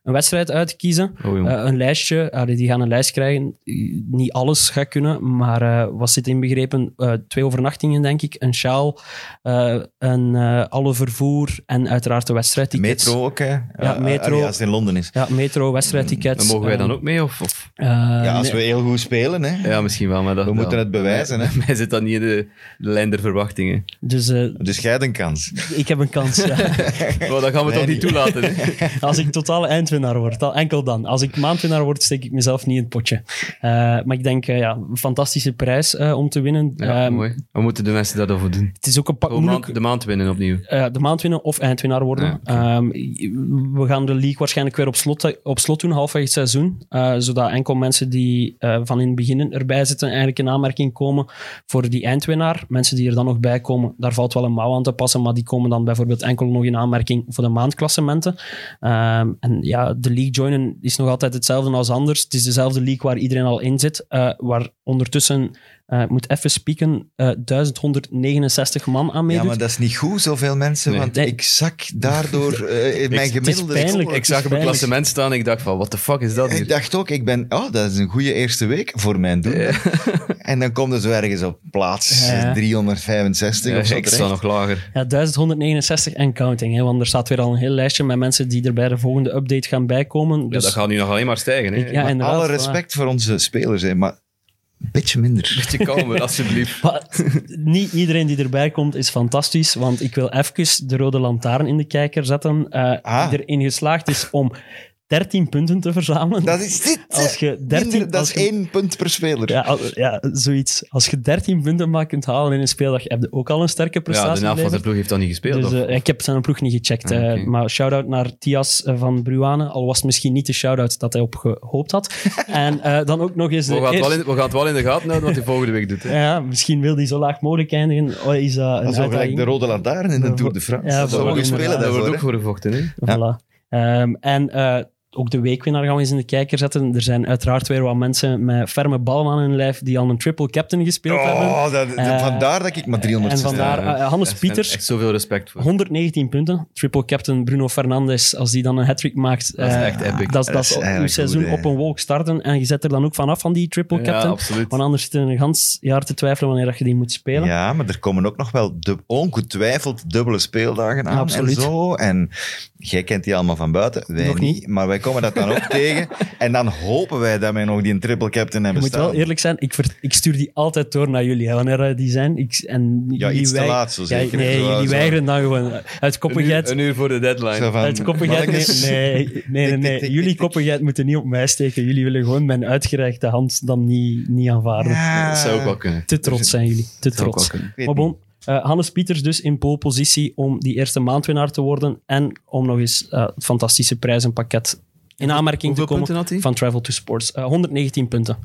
Speaker 4: een wedstrijd uitkiezen.
Speaker 3: Oh, jong.
Speaker 4: Eh, een lijstje. Allee, die gaan een lijst krijgen. Eh, Niet alles gaat kunnen, maar eh, wat zit inbegrepen? Eh, twee overnachtingen, denk ik. Een sjaal, eh, een, eh, alle vervoer en uiteraard de wedstrijdtickets.
Speaker 2: Metro ook, hè?
Speaker 4: Ja, metro.
Speaker 2: Allee, als het in Londen is.
Speaker 4: Ja, metro, wedstrijdtickets.
Speaker 3: En mogen wij Mm, dan
Speaker 4: eh,
Speaker 3: ook mee? Of, of?
Speaker 4: eh,
Speaker 2: Ja, als
Speaker 4: nee.
Speaker 2: we heel goed spelen, hè?
Speaker 3: Ja, misschien wel. Maar dat,
Speaker 2: We moeten
Speaker 3: ja.
Speaker 2: het bewijzen, hè.
Speaker 3: <laughs> Mij zit dat niet in de, de lijn der
Speaker 2: <laughs>
Speaker 3: verwachtingen.
Speaker 4: Dus eh,
Speaker 2: Dus jij hebt een kans.
Speaker 4: ik heb een
Speaker 3: <laughs>
Speaker 4: kans. ja.
Speaker 3: Maar dat gaan we
Speaker 2: Wij
Speaker 3: toch niet
Speaker 2: niet.
Speaker 3: toelaten.
Speaker 4: <laughs>
Speaker 3: Hè?
Speaker 4: Als ik totale eindwinnaar word, dan enkel dan. Als ik maandwinnaar word, steek ik mezelf niet in het potje. Eh, maar ik denk, eh, ja, een fantastische prijs eh, om te winnen.
Speaker 3: Ja,
Speaker 4: Ehm,
Speaker 3: mooi. We moeten de mensen daarover doen.
Speaker 4: Het is ook een pak
Speaker 3: Gewoon
Speaker 4: moeilijk.
Speaker 3: maand, de maand winnen opnieuw.
Speaker 4: eh, de maand winnen of eindwinnaar worden.
Speaker 3: Ja,
Speaker 4: Ehm, we gaan de league waarschijnlijk weer op slot, op slot doen, halfweg het seizoen. eh, zodat enkel mensen die eh, van in het begin erbij zitten, eigenlijk in aanmerking komen voor die eindwinnaar. Mensen die er dan nog bij komen, daar valt wel een mouw aan te passen, maar die komen dan bijvoorbeeld enkel nog in aanmerking voor de maandklassementen. Ehm, en ja, de league joinen is nog altijd hetzelfde als anders. Het is dezelfde league waar iedereen al in zit, eh, waar ondertussen, eh, ik moet even spieken, eh 1169 man aan
Speaker 2: Ja,
Speaker 4: meedoet.
Speaker 2: maar dat is niet goed, zoveel mensen,
Speaker 3: Nee.
Speaker 2: want
Speaker 4: Nee.
Speaker 2: ik zak
Speaker 4: <laughs>
Speaker 2: daardoor eh, in mijn
Speaker 4: het is
Speaker 2: gemiddelde
Speaker 4: pijnlijk.
Speaker 2: score.
Speaker 3: Ik zag op het
Speaker 4: Pijnlijk.
Speaker 3: klassement staan en ik dacht van, what the fuck is dat
Speaker 2: Ik
Speaker 3: hier?
Speaker 2: dacht ook, ik ben, oh, dat is een goede eerste week voor mijn doen.
Speaker 3: Ja.
Speaker 2: <laughs> En dan komt het zo ergens op plaats
Speaker 4: Ja.
Speaker 2: eh, 365 of zo.
Speaker 3: Ja, ik sta
Speaker 2: terecht.
Speaker 3: nog lager.
Speaker 4: Ja, 1169 en counting. Hè, want er staat weer al een heel lijstje met mensen die er bij de volgende update gaan bijkomen. Dus,
Speaker 3: ja, dat gaat nu nog alleen maar stijgen. Hè.
Speaker 4: ik- ja, inderdaad,
Speaker 2: Alle
Speaker 4: voilà.
Speaker 2: respect voor onze spelers, hè, maar een beetje minder.
Speaker 3: Beetje
Speaker 4: <laughs>
Speaker 3: kalmer, alsjeblieft.
Speaker 4: Maar <laughs> niet iedereen die erbij komt is fantastisch, want ik wil even de rode lantaarn in de kijker zetten. eh
Speaker 2: Ah.
Speaker 4: Die erin geslaagd is om 13 punten te verzamelen.
Speaker 2: Dat is dit.
Speaker 4: Als je 13
Speaker 2: Minder, dat
Speaker 4: als
Speaker 2: is
Speaker 4: je-
Speaker 2: één punt per speler.
Speaker 4: Ja, al- ja, zoiets. Als je 13 punten maar kunt halen in een speeldag, heb je ook al een sterke
Speaker 3: Ja, de naam
Speaker 4: prestatie.
Speaker 3: van de
Speaker 4: geleverd.
Speaker 3: ploeg heeft dat niet gespeeld.
Speaker 4: dus,
Speaker 3: of?
Speaker 4: eh, ik heb zijn ploeg niet gecheckt.
Speaker 3: Ah,
Speaker 4: eh,
Speaker 3: oké.
Speaker 4: maar shout-out naar Thias eh, van Bruane. Al was het misschien niet de shout-out dat hij op gehoopt had.
Speaker 3: <laughs>
Speaker 4: en eh, dan ook nog eens de
Speaker 3: we, gaan het
Speaker 4: eerste-
Speaker 3: wel in, we gaan het wel in de gaten houden wat hij volgende week doet. Hè.
Speaker 4: Ja, misschien wil die zo laag mogelijk eindigen. Oh, is dat
Speaker 2: Dat is
Speaker 4: een
Speaker 2: wel gelijk
Speaker 4: uitdaging?
Speaker 2: de rode lantaarn in de
Speaker 4: Ja,
Speaker 2: Tour de
Speaker 4: ja,
Speaker 2: France. Dat
Speaker 4: voilà,
Speaker 2: Zo goed spelen
Speaker 4: inderdaad.
Speaker 3: Daar
Speaker 2: daarvoor.
Speaker 3: wordt ook
Speaker 2: hè.
Speaker 3: voor gevochten. Hè.
Speaker 2: Ja.
Speaker 4: Voilà. Ehm, en eh, ook de weekwinnaar gaan we eens in de kijker zetten. Er zijn uiteraard weer wat mensen met ferme ballen aan hun lijf die al een triple captain gespeeld hebben.
Speaker 2: Oh, dat, dat-
Speaker 4: Eh,
Speaker 2: vandaar dat ik maar
Speaker 4: En
Speaker 2: 300
Speaker 4: vandaar
Speaker 3: Ja,
Speaker 4: eh, Hannes
Speaker 3: echt-
Speaker 4: Pieters,
Speaker 3: Echt zoveel respect voor.
Speaker 4: 119 punten. Triple captain Bruno Fernandes, als die dan een hat-trick maakt.
Speaker 3: Dat is
Speaker 4: eh,
Speaker 3: echt epic.
Speaker 4: Dat,
Speaker 2: Dat
Speaker 4: is- dat
Speaker 2: is
Speaker 4: is uw
Speaker 2: eigenlijk
Speaker 4: seizoen
Speaker 2: goed, hè.
Speaker 4: op een wolk starten. En je zet er dan ook vanaf van die triple
Speaker 3: Ja,
Speaker 4: captain.
Speaker 3: absoluut.
Speaker 4: Want anders zit je een gans jaar te twijfelen wanneer dat je die moet spelen.
Speaker 2: Ja, maar er komen ook nog wel dub- ongetwijfeld dubbele speeldagen aan
Speaker 4: Absoluut.
Speaker 2: en zo. En jij kent die allemaal van buiten, wij
Speaker 4: Nog niet.
Speaker 2: niet. Maar wij komen dat dan
Speaker 4: <laughs>
Speaker 2: ook tegen. En dan hopen wij dat wij nog die triple captain
Speaker 4: Je
Speaker 2: hebben
Speaker 4: moet
Speaker 2: staan.
Speaker 4: wel eerlijk zijn, ik, ver- ik stuur die altijd door naar jullie, hè, wanneer eh, die zijn. Ik, en
Speaker 2: Ja,
Speaker 4: jullie
Speaker 2: iets te
Speaker 4: weig-
Speaker 2: laat, zo
Speaker 4: Ja,
Speaker 2: zeker.
Speaker 4: nee,
Speaker 2: Zo-
Speaker 4: jullie
Speaker 2: zo-
Speaker 4: weigeren dan gewoon eh, uit
Speaker 3: Een uur,
Speaker 4: koppigheid.
Speaker 3: een uur voor de deadline.
Speaker 2: Zo van,
Speaker 4: Uit koppigheid, nee,
Speaker 2: mannetjes,
Speaker 4: nee, nee, nee,
Speaker 2: tik,
Speaker 4: nee.
Speaker 2: tik, tik,
Speaker 4: Jullie
Speaker 2: tik.
Speaker 4: koppigheid moeten niet op mij steken. Jullie willen gewoon mijn uitgereikte hand dan niet, niet aanvaarden.
Speaker 2: ja,
Speaker 3: Dat zou ook wel kunnen.
Speaker 4: Te trots zijn jullie, te
Speaker 3: zou ook
Speaker 4: trots.
Speaker 3: wel kunnen.
Speaker 2: ik weet
Speaker 4: Maar
Speaker 2: niet.
Speaker 4: bon, eh, Hannes Pieters dus in pole positie om die eerste maandwinnaar te worden en om nog eens eh, het fantastische prijzenpakket in aanmerking te
Speaker 3: Hoeveel
Speaker 4: komen
Speaker 3: punten had hij?
Speaker 4: van Travel to Sports. Eh, 119 punten.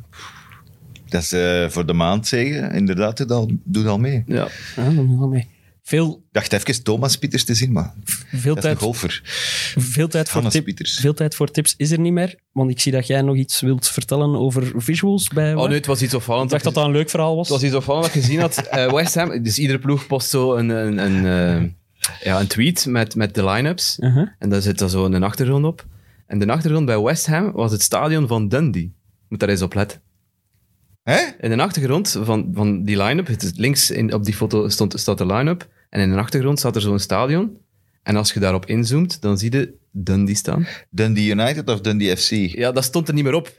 Speaker 2: Dat is eh, voor de maand zeggen. Inderdaad, doe al, doe al mee.
Speaker 3: Ja.
Speaker 4: Ja, dan doen we wel mee. Veel,
Speaker 2: Ik dacht even Thomas Pieters te zien, maar
Speaker 4: veel
Speaker 2: dat is een
Speaker 4: tijd
Speaker 2: golfer.
Speaker 4: Veel tijd, voor
Speaker 2: Hannes
Speaker 4: tip-
Speaker 2: Pieters.
Speaker 4: veel tijd voor tips is er niet meer. Want ik zie dat jij nog iets wilt vertellen over visuals bij.
Speaker 3: Oh nee, het was iets
Speaker 4: ik
Speaker 3: opvallends.
Speaker 4: dacht dat dat een leuk verhaal was.
Speaker 3: Het was iets opvallends dat ik gezien
Speaker 4: <laughs>
Speaker 3: had. Eh, West Ham, dus iedere ploeg post zo een, een, een, eh, ja, een tweet met, met de line-ups.
Speaker 4: Uh-huh.
Speaker 3: En daar zit dan zo een achtergrond op. En de achtergrond bij West Ham was het stadion van Dundee. Moet daar eens op letten.
Speaker 2: Hè?
Speaker 3: In de achtergrond van, van die line-up, het is links in, op die foto stond, staat de line-up. En in de achtergrond staat er zo'n stadion. En als je daarop inzoomt, dan zie je Dundee staan.
Speaker 2: Dundee United of Dundee FC? Die,
Speaker 3: Ja, dat stond er niet meer op.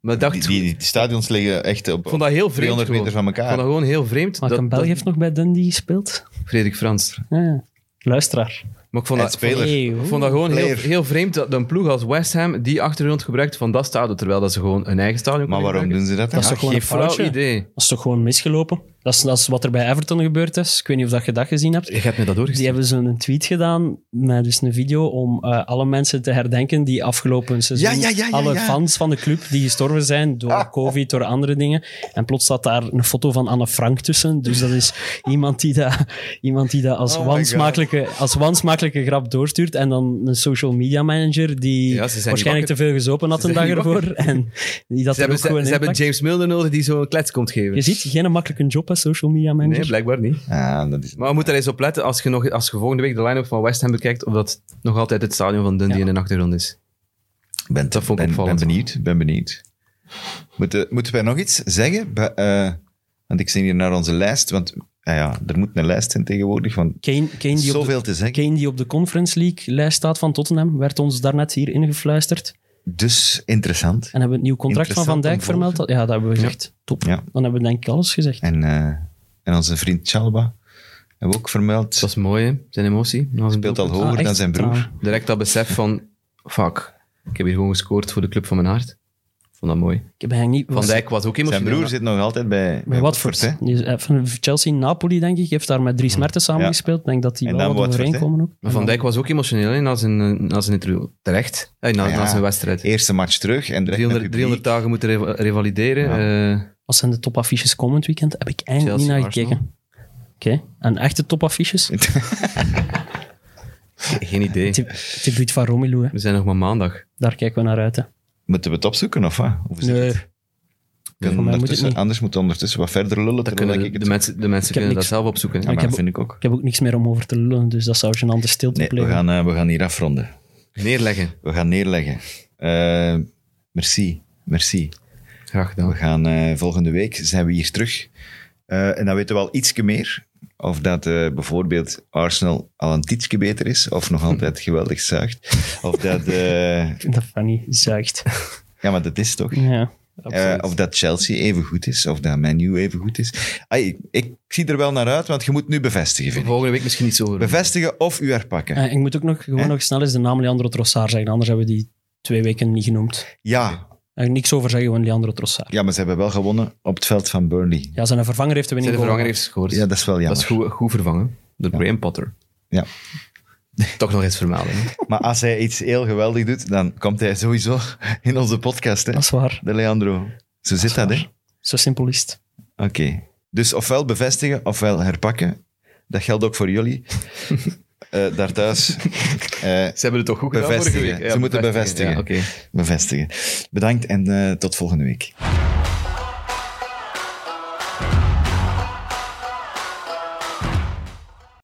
Speaker 3: Maar ik dacht,
Speaker 2: die, die stadions liggen echt op
Speaker 3: ik vond dat heel vreemd.
Speaker 2: 300 meter
Speaker 3: gewoon.
Speaker 2: van
Speaker 3: Ik vond
Speaker 2: elkaar.
Speaker 3: dat gewoon heel vreemd.
Speaker 4: Maar
Speaker 3: dat-
Speaker 4: een Belg
Speaker 3: dat-
Speaker 4: heeft nog bij Dundee gespeeld.
Speaker 3: Frederik Frans.
Speaker 4: Ja, ja. Luisteraar.
Speaker 3: Maar ik vond
Speaker 2: En
Speaker 3: dat,
Speaker 2: speler.
Speaker 4: Hey, hoe-
Speaker 3: Ik vond dat gewoon heel,
Speaker 2: Player.
Speaker 3: heel vreemd dat een ploeg als West Ham die achtergrond gebruikt van dat stadion, terwijl dat ze gewoon een eigen stadion
Speaker 2: Maar waarom doen ze dat dan?
Speaker 4: Dat is toch gewoon een
Speaker 3: Geen flauw
Speaker 4: foutje?
Speaker 3: idee.
Speaker 4: Dat is toch gewoon misgelopen? Dat is, dat is wat er bij Everton gebeurd is. Ik weet niet of dat je dat gezien hebt.
Speaker 3: Ik heb me dat
Speaker 4: Die
Speaker 3: doorgestuurd.
Speaker 4: hebben zo'n tweet gedaan met dus een video om eh, alle mensen te herdenken die afgelopen seizoen,
Speaker 2: Ja, ja, ja, ja,
Speaker 4: alle
Speaker 2: ja.
Speaker 4: fans van de club die gestorven zijn
Speaker 3: <laughs>
Speaker 4: door COVID, door andere dingen. En plots staat daar een foto van Anne Frank tussen. Dus dat is iemand die dat, iemand die dat als,
Speaker 2: Oh my
Speaker 4: wansmakelijke, als wansmakelijke grap doorstuurt. En dan een social media manager die
Speaker 3: Ja, ze zijn
Speaker 4: waarschijnlijk te
Speaker 3: niet
Speaker 4: veel gezopen had
Speaker 3: Ze
Speaker 4: een dag
Speaker 3: zijn niet
Speaker 4: ervoor. <laughs> En die dat
Speaker 3: Ze
Speaker 4: er
Speaker 3: hebben,
Speaker 4: ook gewoon
Speaker 3: ze, ze hebben
Speaker 4: inpakt.
Speaker 3: James Milner nodig die zo'n klets komt
Speaker 4: Je
Speaker 3: geven.
Speaker 4: ziet, geen makkelijke job als social media manager.
Speaker 3: Nee, blijkbaar niet.
Speaker 2: Ah, dat is...
Speaker 3: Maar we moeten er eens op letten als je, nog, als je volgende week de line-up van West Ham bekijkt, of dat nog altijd het stadion van Dundee
Speaker 4: Ja.
Speaker 3: in de achtergrond is.
Speaker 2: ben,
Speaker 3: Dat vond
Speaker 2: ben,
Speaker 3: ik
Speaker 2: ben
Speaker 3: opvallend.
Speaker 2: benieuwd, ben benieuwd. Moeten, moeten wij nog iets zeggen? Bij, eh, want ik zie hier naar onze lijst, want ah ja, er moet een lijst zijn tegenwoordig, want
Speaker 4: Kane, Kane die op de-
Speaker 2: zoveel te zeggen.
Speaker 4: Kane die op de Conference League-lijst staat van Tottenham, werd ons daarnet hier ingefluisterd.
Speaker 2: Dus interessant.
Speaker 4: En hebben we het nieuw contract van Van Dijk
Speaker 2: Interessant om
Speaker 4: vermeld.
Speaker 2: te
Speaker 4: Ja, dat hebben we gezegd. Top.
Speaker 2: Ja.
Speaker 4: Dan hebben we denk ik alles gezegd.
Speaker 2: En, eh, en onze vriend Chalba hebben we ook vermeld.
Speaker 3: Dat was mooi, hè? zijn emotie. Dat was een
Speaker 2: speelt al
Speaker 3: doelpunt.
Speaker 2: hoger
Speaker 4: Ah, echt?
Speaker 2: dan zijn broer.
Speaker 4: Trouwen.
Speaker 3: Direct dat besef van, fuck, ik heb hier gewoon gescoord voor de club van mijn hart. Vond dat mooi.
Speaker 4: Ik heb eigenlijk niet...
Speaker 3: Van Dijk was ook
Speaker 2: Zijn
Speaker 3: emotioneel.
Speaker 2: broer zit nog altijd bij,
Speaker 4: Bij Watford.
Speaker 2: Watford, hè? Hm.
Speaker 4: Die is, eh, van Chelsea, Napoli denk ik, heeft daar met Dries Mertens samengespeeld. Ik denk dat die
Speaker 2: En
Speaker 4: wel
Speaker 2: dan
Speaker 4: wat
Speaker 2: Watford,
Speaker 4: overeenkomen ook.
Speaker 3: Maar Van Dijk was ook emotioneel hè, na zijn, eh, na zijn interview. Terecht. Eh, na,
Speaker 2: Ah Ja.
Speaker 3: na zijn wedstrijd.
Speaker 2: Eerste match terug en direct
Speaker 3: 300,
Speaker 2: met publiek.
Speaker 3: 300 dagen moeten revalideren.
Speaker 2: Ja.
Speaker 3: eh,
Speaker 4: Wat zijn de topaffiches komend weekend? Heb ik eigenlijk
Speaker 3: Chelsea,
Speaker 4: niet naar gekeken. Oké, en echte topaffiches?
Speaker 3: Geen idee.
Speaker 4: Het debuut van Romelu, hè.
Speaker 3: We zijn nog maar maandag.
Speaker 4: daar kijken we naar uit. Hè.
Speaker 2: Moeten we het opzoeken of wat? Of is het-
Speaker 4: Nee,
Speaker 2: kunnen
Speaker 4: voor mij moet het
Speaker 2: ondertussen-
Speaker 4: niet.
Speaker 2: Anders moeten we ondertussen wat verder lullen.
Speaker 3: Dat
Speaker 2: terwijl
Speaker 3: kunnen,
Speaker 2: ik het-
Speaker 3: de mensen, de mensen
Speaker 4: heb
Speaker 3: kunnen dat
Speaker 4: niks.
Speaker 3: zelf opzoeken.
Speaker 2: Ja, maar
Speaker 4: heb
Speaker 2: dat vind ik ook.
Speaker 4: ik heb ook niks meer om over te lullen, dus dat zou gênante stilte
Speaker 2: Nee, we
Speaker 4: plegen.
Speaker 2: gaan, eh, we gaan hier afronden.
Speaker 3: Neerleggen.
Speaker 2: We gaan neerleggen. Eh, merci. Merci.
Speaker 3: Graag
Speaker 2: We
Speaker 3: gedaan.
Speaker 2: gaan eh, volgende week zijn we hier terug. Eh, en dan weten we al ietsje meer. Of dat eh, bijvoorbeeld Arsenal al een tietje beter is. Of nog altijd geweldig zuigt. Of dat... eh,
Speaker 4: Ik vind dat funny, zuigt.
Speaker 2: ja, maar dat is toch.
Speaker 4: Ja.
Speaker 2: Eh, of dat Chelsea even goed is. Of dat Menu even goed is. Ai, ik, ik zie er wel naar uit, want je moet nu bevestigen, vind ik.
Speaker 3: Volgende week misschien niet zo. horen.
Speaker 2: Bevestigen of u herpakken.
Speaker 4: Eh, ik moet ook nog, gewoon
Speaker 2: Eh?
Speaker 4: nog snel eens de naam Leandro Trossard zeggen, anders hebben we die twee weken niet genoemd.
Speaker 2: Ja,
Speaker 4: En niks over zeggen, gewoon Leandro Trossard.
Speaker 2: ja, maar ze hebben wel gewonnen op het veld van Burnley.
Speaker 4: Ja, zijn vervanger heeft de
Speaker 3: Zijn
Speaker 4: winning
Speaker 3: de vervanger
Speaker 4: gewonnen.
Speaker 3: heeft gescoord.
Speaker 2: Ja, dat is wel jammer.
Speaker 3: dat is goed, goed vervangen. Door Graham Potter.
Speaker 2: Ja.
Speaker 3: Toch nog eens vermelden. hè.
Speaker 2: Maar als hij iets heel geweldig doet, dan komt hij sowieso in onze podcast, hè?
Speaker 4: Dat is waar.
Speaker 2: De Leandro. Zo zit dat, hè? Oké.
Speaker 4: Zo simpel is het.
Speaker 2: Dus ofwel bevestigen, ofwel herpakken. Dat geldt ook voor
Speaker 4: <laughs>
Speaker 2: jullie. Eh, daar thuis. Eh,
Speaker 3: Ze hebben het toch goed gedaan
Speaker 2: Bevestigen.
Speaker 3: vorige week?
Speaker 2: Ze moeten
Speaker 3: Ja,
Speaker 2: bevestigen.
Speaker 3: oké.
Speaker 2: bevestigen. Bedankt en eh, tot volgende week.